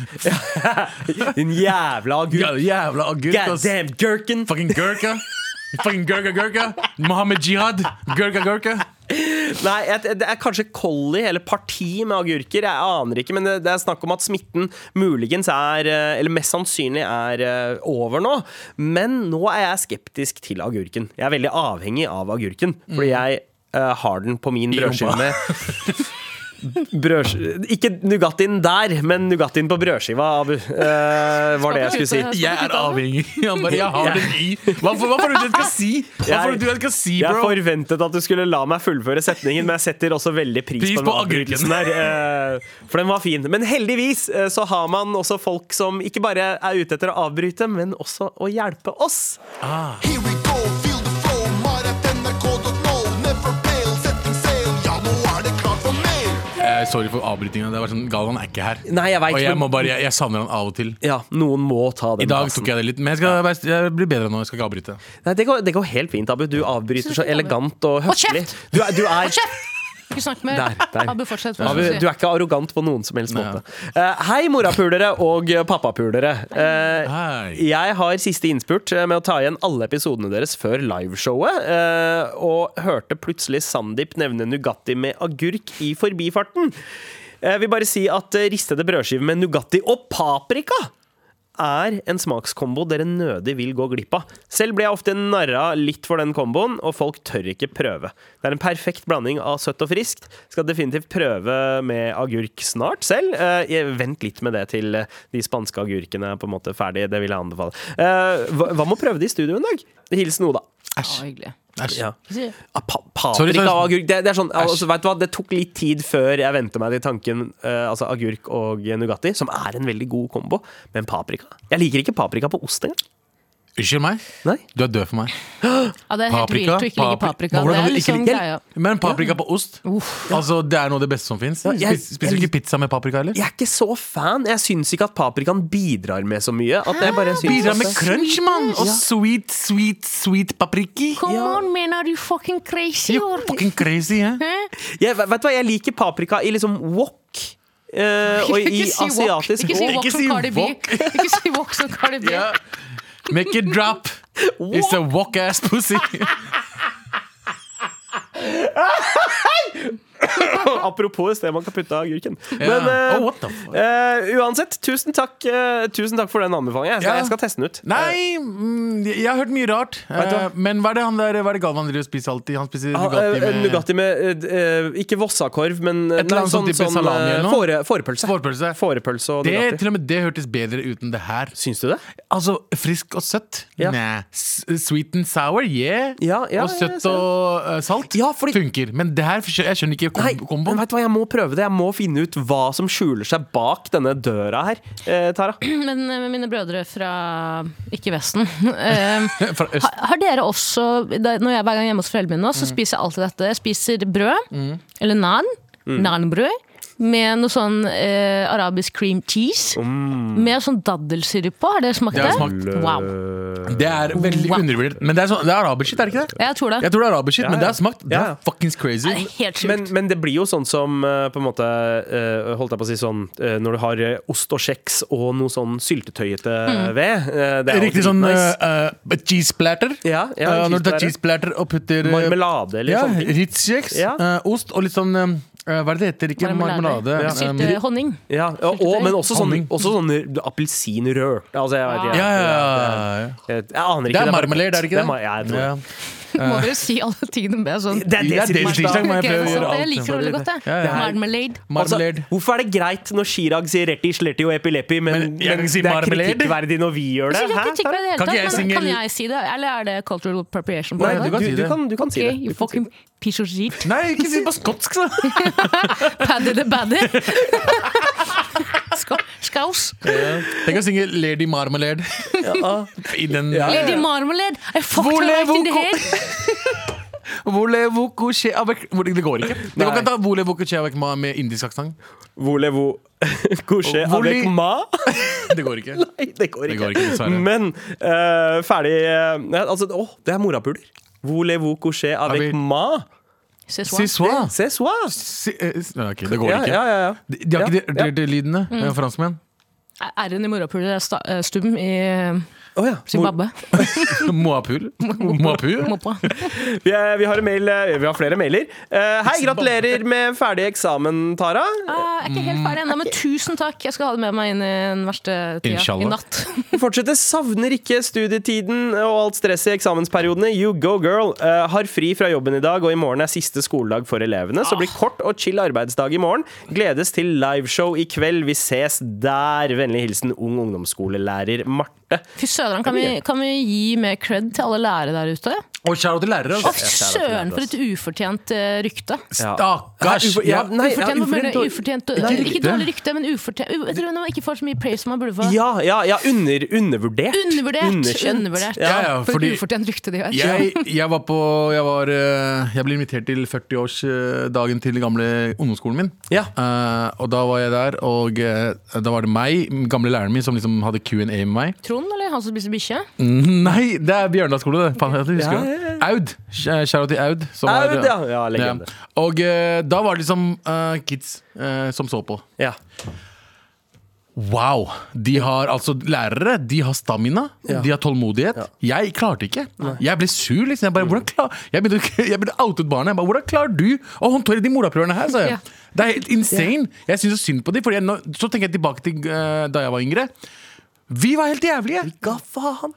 [SPEAKER 2] [LAUGHS] En jævla
[SPEAKER 3] Ja,
[SPEAKER 2] agurk.
[SPEAKER 3] jævla agurk.
[SPEAKER 2] God
[SPEAKER 3] ass.
[SPEAKER 2] damn gherkin!
[SPEAKER 3] Fucking Gurka. Fucking Gurka Gurka. Mohammed Jihad. Gurka Gurka.
[SPEAKER 2] Nei, jeg, det er kanskje collie eller parti med agurker. Jeg aner ikke, men det, det er snakk om at smitten muligens er eh, Eller mest sannsynlig er eh, over nå. Men nå er jeg skeptisk til agurken. Jeg er veldig avhengig av agurken, fordi jeg eh, har den på min
[SPEAKER 3] Mm. I rumpa.
[SPEAKER 2] brødskive med [LAUGHS] Brødsk... Ikke Nugattien der, men Nugattien på brødskiva, Abu. eh, var det jeg skulle si.
[SPEAKER 3] Jeg er avhengig. [LAUGHS] Han bare, jeg har den i. Hva får hva får du til at jeg skal si? Hva får du til at jeg skal si,
[SPEAKER 2] Jeg
[SPEAKER 3] bro?
[SPEAKER 2] forventet at du skulle la meg fullføre setningen, men jeg setter også veldig pris,
[SPEAKER 3] Pris
[SPEAKER 2] på, den
[SPEAKER 3] på agurken.
[SPEAKER 2] avbrytelsen her. eh, For den var fin. Men heldigvis eh, så har man også folk som ikke bare er ute etter å avbryte, men også å hjelpe oss.
[SPEAKER 5] Here we go, feel the flow, maratnrk.no. Never fail, setting sail, ja, nå er det klart for mer.
[SPEAKER 3] Eh, sorry for avbrytingen. Det var sånn, Galvan er ikke her.
[SPEAKER 2] Nei, jeg vet,
[SPEAKER 3] Og jeg,
[SPEAKER 2] men-
[SPEAKER 3] må bare, jeg, jeg savner han av og til.
[SPEAKER 2] Ja, noen må ta den
[SPEAKER 3] I dag
[SPEAKER 2] plassen.
[SPEAKER 3] tok jeg det litt, men jeg, skal, være- jeg blir bedre nå. Jeg skal ikke avbryte.
[SPEAKER 2] Nei, det, går, det går helt fint, Abu. Du avbryter så elegant og
[SPEAKER 4] Hold
[SPEAKER 2] høflig.
[SPEAKER 4] kjeft!
[SPEAKER 2] Du er, du er
[SPEAKER 4] Ikke snakk mer.
[SPEAKER 2] Der, der.
[SPEAKER 4] Abu, fortsett.
[SPEAKER 2] Abu, du er ikke arrogant på noen som helst måte. Eh, hei, morapulere og pappapulere. Eh,
[SPEAKER 3] Hei.
[SPEAKER 2] jeg har siste innspurt eh, med å ta igjen alle episodene deres før liveshowet, eh, og hørte plutselig Sandeep nevne Nugatti med agurk i forbifarten. Jeg vil bare si at eh, ristede brødskiver med Nugatti og paprika er en smakskombo dere nødig vil gå glipp av. Selv blir jeg ofte narra litt for den komboen, og folk tør ikke prøve. Det er en perfekt blanding av søtt og friskt. Skal definitivt prøve med agurk snart selv. Eh, jeg- vent litt med det til eh, de spanske agurkene er på en måte ferdig. Det vil jeg anbefale. Eh, hva, hva med å prøve det i studio en dag? Hilsen Oda.
[SPEAKER 4] Å, hyggelig.
[SPEAKER 3] Æsj.
[SPEAKER 2] Ja.
[SPEAKER 4] Si-
[SPEAKER 2] Ah, pa
[SPEAKER 3] Sorry,
[SPEAKER 2] paprika
[SPEAKER 3] sorry.
[SPEAKER 2] og agurk det, det er sånn, altså, vet du hva? det tok litt tid før jeg vente meg til tanken eh, Altså agurk og Nugatti, som er en veldig god kombo. Men paprika Jeg liker ikke paprika på ost engang.
[SPEAKER 3] Unnskyld meg.
[SPEAKER 2] Nei.
[SPEAKER 3] Du er død for meg.
[SPEAKER 4] Ja, det er helt
[SPEAKER 3] Paprika,
[SPEAKER 4] vilt å ikke ligge
[SPEAKER 3] papri-
[SPEAKER 4] paprika.
[SPEAKER 3] Hvordan
[SPEAKER 4] Det
[SPEAKER 3] kan
[SPEAKER 4] er
[SPEAKER 3] du ikke
[SPEAKER 4] liksom
[SPEAKER 3] ligge-
[SPEAKER 4] greia.
[SPEAKER 3] Men paprika på ost Altså, det er noe av det beste som fins.
[SPEAKER 2] jeg-
[SPEAKER 3] Spiser du
[SPEAKER 2] jeg-
[SPEAKER 3] ikke pizza med paprika heller?
[SPEAKER 2] jeg er ikke så fan. Jeg syns ikke at paprikaen bidrar med så mye. At jeg bare syns
[SPEAKER 3] Bidrar med
[SPEAKER 2] at-
[SPEAKER 3] crunch, mann! Og sweet, sweet, sweet papriki.
[SPEAKER 4] Come on, man, are you fucking crazy?
[SPEAKER 3] You're
[SPEAKER 4] or-
[SPEAKER 3] fucking crazy, eh?
[SPEAKER 2] jeg, Vet du hva, jeg liker paprika i liksom wok. eh,
[SPEAKER 3] [LAUGHS]
[SPEAKER 2] og i
[SPEAKER 4] Ikke si wok.
[SPEAKER 2] asiatisk
[SPEAKER 4] Ikke si
[SPEAKER 2] wok.
[SPEAKER 4] wok
[SPEAKER 3] Ikke
[SPEAKER 4] som
[SPEAKER 3] si
[SPEAKER 4] Cardi B.
[SPEAKER 3] wok.
[SPEAKER 4] Ikke si wok som Cardi
[SPEAKER 3] [LAUGHS]
[SPEAKER 4] B.
[SPEAKER 3] Ja. Make it drop. It's a walk ass pussy.
[SPEAKER 2] [LAUGHS] apropos et sted man kan putte agurken.
[SPEAKER 3] Ja.
[SPEAKER 2] Men eh,
[SPEAKER 3] Oh, what the fuck?
[SPEAKER 2] eh, uansett, tusen takk, eh, tusen takk for den anbefalingen. Jeg,
[SPEAKER 3] Ja.
[SPEAKER 2] jeg skal teste den ut.
[SPEAKER 3] Nei, mm, jeg har hørt mye rart.
[SPEAKER 2] Vet du hva?
[SPEAKER 3] Eh, Men hva er det han der, hva er det Galvan driver og spiser alltid? Han spiser
[SPEAKER 2] Ha,
[SPEAKER 3] Nugatti
[SPEAKER 2] eh,
[SPEAKER 3] med
[SPEAKER 2] Nugatti med, eh, eh, ikke vossakorv, men eh,
[SPEAKER 3] eller annet sånn type salami eller
[SPEAKER 2] eh,
[SPEAKER 3] noe?
[SPEAKER 2] fåre, fårepølse.
[SPEAKER 3] Fårepølse.
[SPEAKER 2] Fårepølse og
[SPEAKER 3] Det,
[SPEAKER 2] Nugatti.
[SPEAKER 3] til og med det hørtes bedre ut enn det her.
[SPEAKER 2] Syns du det?
[SPEAKER 3] Altså, frisk og søtt?
[SPEAKER 2] Ja.
[SPEAKER 3] Nei. S- Sweet and sour? Yeah.
[SPEAKER 2] Ja, ja,
[SPEAKER 3] og
[SPEAKER 2] jeg
[SPEAKER 3] søtt
[SPEAKER 2] ser det.
[SPEAKER 3] og eh, salt
[SPEAKER 2] Ja, fordi-
[SPEAKER 3] funker. Men det her skjø- jeg skjønner ikke
[SPEAKER 2] Nei,
[SPEAKER 3] kom
[SPEAKER 2] men
[SPEAKER 3] komboen.
[SPEAKER 2] vet du hva, jeg må prøve det. Jeg må finne ut hva som skjuler seg bak denne døra her, eh,
[SPEAKER 3] [CLEARS THROAT]
[SPEAKER 2] Tara.
[SPEAKER 4] Men eh, med mine brødre fra ikke Vesten eh,
[SPEAKER 3] Fra øst.
[SPEAKER 4] har, har dere også da, når jeg, Hver gang jeg er hjemme hos foreldrene mine, nå, så spiser jeg alltid dette. Jeg spiser brød, eller nan. Nanbrød. Med noe sånn eh, arabisk cream cheese. Med sånn daddelsirup på. Har dere smakt
[SPEAKER 3] Det
[SPEAKER 4] det?
[SPEAKER 3] har jeg smakt.
[SPEAKER 4] Wow.
[SPEAKER 3] Det er veldig
[SPEAKER 4] Wow.
[SPEAKER 3] undervurdert. Men det er, sånn, det er arabisk shit, er det ikke det?
[SPEAKER 4] Jeg tror det.
[SPEAKER 3] Jeg tror det er arabisk shit, men
[SPEAKER 2] ja.
[SPEAKER 3] det har smakt. Det
[SPEAKER 2] Ja, ja.
[SPEAKER 3] er fuckings crazy.
[SPEAKER 4] Det er helt sjukt.
[SPEAKER 2] Men, men det blir jo sånn som eh, på en måte eh, Holdt jeg på å si sånn eh, Når du har eh, ost og kjeks og noe sånn syltetøyete ved. eh, det er
[SPEAKER 3] Mm. Riktig
[SPEAKER 2] alltid
[SPEAKER 3] sånn
[SPEAKER 2] nice.
[SPEAKER 3] eh, eh, cheese platter.
[SPEAKER 2] Ja, ja,
[SPEAKER 3] Eh, når du tar
[SPEAKER 2] cheese
[SPEAKER 3] cheese platter og putter eh,
[SPEAKER 2] Marmelade eller
[SPEAKER 3] ja,
[SPEAKER 2] sånne ting.
[SPEAKER 3] Ritz-kjeks,
[SPEAKER 2] Ja.
[SPEAKER 3] eh, ost og litt sånn eh, Hva er det det heter? Ikke
[SPEAKER 4] Marmelade.
[SPEAKER 3] marmelade.
[SPEAKER 4] Ja,
[SPEAKER 3] eh,
[SPEAKER 4] Sylte honning.
[SPEAKER 2] Ja, og, og, men også sånn,
[SPEAKER 3] Honning.
[SPEAKER 2] også sånn appelsinrør. Altså, jeg, vet,
[SPEAKER 3] ja,
[SPEAKER 2] jeg,
[SPEAKER 3] ja, ja, ja.
[SPEAKER 2] jeg, jeg aner ikke.
[SPEAKER 3] Det
[SPEAKER 2] bare-
[SPEAKER 3] er marmelade, er det ikke det?
[SPEAKER 2] mar- ja, jeg tror
[SPEAKER 3] Ja.
[SPEAKER 2] det.
[SPEAKER 4] Må dere si alle tingene med sånn?
[SPEAKER 2] Det er
[SPEAKER 3] Ja, det er
[SPEAKER 2] desitirsdag.
[SPEAKER 3] desitirsdag, må jeg
[SPEAKER 4] Ok,
[SPEAKER 3] prøve å
[SPEAKER 4] så
[SPEAKER 3] gjøre
[SPEAKER 4] Jeg
[SPEAKER 3] alt.
[SPEAKER 4] liker det veldig godt, jeg.
[SPEAKER 3] Ja, ja.
[SPEAKER 4] Marmalade.
[SPEAKER 2] Altså,
[SPEAKER 3] Marmelade.
[SPEAKER 2] hvorfor er det greit når Chirag sier retti, sletti og epileppi, men,
[SPEAKER 3] Men jeg
[SPEAKER 2] men
[SPEAKER 3] kan si
[SPEAKER 2] det er
[SPEAKER 3] marmelade.
[SPEAKER 2] kritikkverdig når vi gjør det?
[SPEAKER 4] Altså, Jeg synes
[SPEAKER 2] Hæ?
[SPEAKER 4] ikke kritikk på det i det
[SPEAKER 3] Kan
[SPEAKER 4] hele
[SPEAKER 3] ikke jeg
[SPEAKER 4] tatt, men
[SPEAKER 3] synge-
[SPEAKER 4] Kan jeg si det, eller er det cultural appropriation? på
[SPEAKER 2] Nei,
[SPEAKER 4] det?
[SPEAKER 2] du,
[SPEAKER 3] kan si
[SPEAKER 2] du, du,
[SPEAKER 3] det.
[SPEAKER 2] kan, du kan si
[SPEAKER 4] Ok,
[SPEAKER 2] det.
[SPEAKER 4] you fucking piece of shit.
[SPEAKER 3] Nei, ikke si det på skotsk,
[SPEAKER 2] [LAUGHS]
[SPEAKER 3] da!
[SPEAKER 4] Paddy the
[SPEAKER 3] [LAUGHS]
[SPEAKER 4] baddy. Ska- Skaus.
[SPEAKER 3] Tenk å synge Lady Marmalade [LAUGHS] i den
[SPEAKER 4] Lady Marmalade. I fucked her
[SPEAKER 3] Vole
[SPEAKER 4] right in the
[SPEAKER 3] voko.
[SPEAKER 4] head.
[SPEAKER 3] Vole voko che avec Hvor- Det går ikke. Det går
[SPEAKER 2] Nei.
[SPEAKER 3] ikke å ta Vole voko che avec ma med indisk aksent.
[SPEAKER 2] [LAUGHS] Volevo couche
[SPEAKER 3] Voli-
[SPEAKER 2] avec ma? [LAUGHS]
[SPEAKER 3] Det går ikke.
[SPEAKER 2] Nei, det går
[SPEAKER 3] Det
[SPEAKER 2] ikke.
[SPEAKER 3] går ikke, dessverre.
[SPEAKER 2] Men eh, ferdig eh, nei, Altså, åh, det er morapuler. Volevo couche avec
[SPEAKER 3] Avec-
[SPEAKER 2] ma?
[SPEAKER 4] Se så.
[SPEAKER 3] Si soir.
[SPEAKER 2] C'est soir.
[SPEAKER 3] Si, eh, s- nei, ok, Ah. det går
[SPEAKER 2] Ja,
[SPEAKER 3] ikke.
[SPEAKER 2] ja, ja, ja.
[SPEAKER 3] De, de har
[SPEAKER 2] Ja,
[SPEAKER 3] ikke de de- de lydene, eh, franskmenn. [LAUGHS]
[SPEAKER 4] Er- R-en i morapuler er sta- eh, stum i
[SPEAKER 2] Å ja.
[SPEAKER 4] Zimbabwe.
[SPEAKER 3] Moapur. Moapur. [LAUGHS]
[SPEAKER 4] Moppa.
[SPEAKER 2] Vi, er, vi, har en mail, eh, vi har flere mailer. Eh, hei, gratulerer med ferdig eksamen, Tara.
[SPEAKER 4] Ah, jeg er ikke helt ferdig ennå, men tusen takk. Jeg skal ha det med meg inn i den verste
[SPEAKER 3] Mm.
[SPEAKER 4] tida.
[SPEAKER 3] Inshallah.
[SPEAKER 4] I natt. [LAUGHS]
[SPEAKER 2] Fortsette, savner ikke studietiden og alt stresset i eksamensperiodene. You go, girl. Eh, har fri fra jobben i dag, og i morgen er siste skoledag for elevene.
[SPEAKER 3] Ah.
[SPEAKER 2] Så blir kort og chill arbeidsdag i morgen. Gledes til liveshow i kveld. Vi ses der. Vennlig hilsen ung ungdomsskolelærer Marte.
[SPEAKER 4] Fy søderen, kan, vi- kan vi gi mer cred til alle lærere der ute?
[SPEAKER 3] Og kjære til lærere.
[SPEAKER 4] Å,
[SPEAKER 3] altså.
[SPEAKER 4] fy søren, for et ufortjent eh, rykte.
[SPEAKER 3] Stakkars!
[SPEAKER 2] Hæ, ufor- ja, nei, ja,
[SPEAKER 4] Ufortjent, hva mener du?
[SPEAKER 2] dårlig-
[SPEAKER 4] ufortjent
[SPEAKER 2] Nei,
[SPEAKER 4] Ikke
[SPEAKER 3] rykte.
[SPEAKER 4] dårlig rykte, men ufortjent Jeg tror man ikke får så mye praise som man burde få.
[SPEAKER 2] Ja, ja, ja under, undervurdert.
[SPEAKER 4] Undervurdert!
[SPEAKER 2] Underkjent.
[SPEAKER 4] undervurdert.
[SPEAKER 3] Ja, ja,
[SPEAKER 4] For
[SPEAKER 3] fordi-
[SPEAKER 4] et ufortjent rykte de har.
[SPEAKER 3] Jeg, jeg var på jeg, var, eh, jeg ble invitert til 40-årsdagen til den gamle ungdomsskolen min.
[SPEAKER 2] Ja.
[SPEAKER 3] Eh, og da var jeg der, og eh, da var det meg, den gamle læreren min, som liksom hadde Q&A med meg.
[SPEAKER 4] Trond, eller han som spiser bikkje?
[SPEAKER 3] Mhm. Nei, det er Bjørndal skole, det. Faen, jeg husker
[SPEAKER 2] Ja,
[SPEAKER 3] det.
[SPEAKER 2] ja,
[SPEAKER 3] Aud. Kjære til Aud. som
[SPEAKER 2] Aud,
[SPEAKER 3] er-
[SPEAKER 2] ja. Ja, legende.
[SPEAKER 3] Og eh, da var det liksom eh, kids eh, som så på.
[SPEAKER 2] Ja.
[SPEAKER 3] Wow! De har altså lærere, de har stamina, de har tålmodighet. Jeg klarte ikke. Jeg ble sur, liksom. Jeg,
[SPEAKER 2] Mm.
[SPEAKER 3] bare, hvordan klar, jeg, begynte, jeg begynte å outet barnet. Jeg bare, hvordan klarer du å håndtere de moraprøverne her? sa jeg.
[SPEAKER 4] Ja.
[SPEAKER 3] Det er helt insane. Jeg syns synd på dem. Fordi jeg, nå- så tenker jeg tilbake til eh, da jeg var yngre. Vi var helt jævlige!
[SPEAKER 2] Ga faen.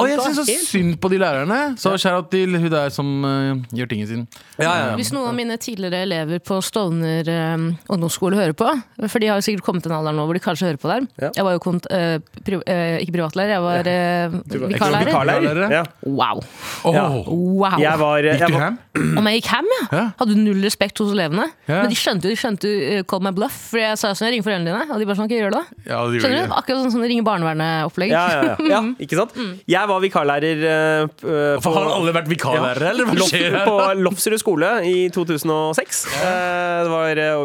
[SPEAKER 3] Og jeg
[SPEAKER 2] Da
[SPEAKER 3] syns så
[SPEAKER 2] helt-
[SPEAKER 3] synd på de lærerne. Så shout-out til hun der som eh, gjør tingen sin. Eh,
[SPEAKER 2] Ja, ja.
[SPEAKER 4] Hvis noen av mine tidligere elever på Stovner eh, ungdomsskole hører på, for de har jo sikkert kommet til en alder nå hvor de kanskje hører på der
[SPEAKER 2] Ja.
[SPEAKER 4] Jeg var jo kont eh, pri eh, ikke privatlærer, jeg var eh, vikarlærer.
[SPEAKER 2] Vikarlærer. Ja.
[SPEAKER 4] Wow.
[SPEAKER 3] Åh,
[SPEAKER 2] Ja.
[SPEAKER 4] wow.
[SPEAKER 2] Jeg var, jeg
[SPEAKER 3] Gikk du
[SPEAKER 2] var
[SPEAKER 3] ham?
[SPEAKER 4] Om jeg gikk ham, ja.
[SPEAKER 3] Ja.
[SPEAKER 4] Hadde null respekt hos elevene.
[SPEAKER 3] Ja.
[SPEAKER 4] Men de skjønte jo de skjønte jo eh, call my bluff, for jeg sa sånn, jeg ringer foreldrene dine. Og de bare sånn, ikke gjør det. da.
[SPEAKER 3] Ja, det gjorde
[SPEAKER 4] Skjønner du?
[SPEAKER 3] jeg.
[SPEAKER 4] Akkurat sånn som de ringer barnevernet-opplegg.
[SPEAKER 2] Ja, ja, ja. ja ikke sant? Jeg var vikarlærer eh, p- eh, på,
[SPEAKER 3] For har alle vært vikarlærere, eller hva
[SPEAKER 2] Lof-
[SPEAKER 3] skjer her?
[SPEAKER 2] på Lofsrud skole i 2006. Eh, Det var, eh,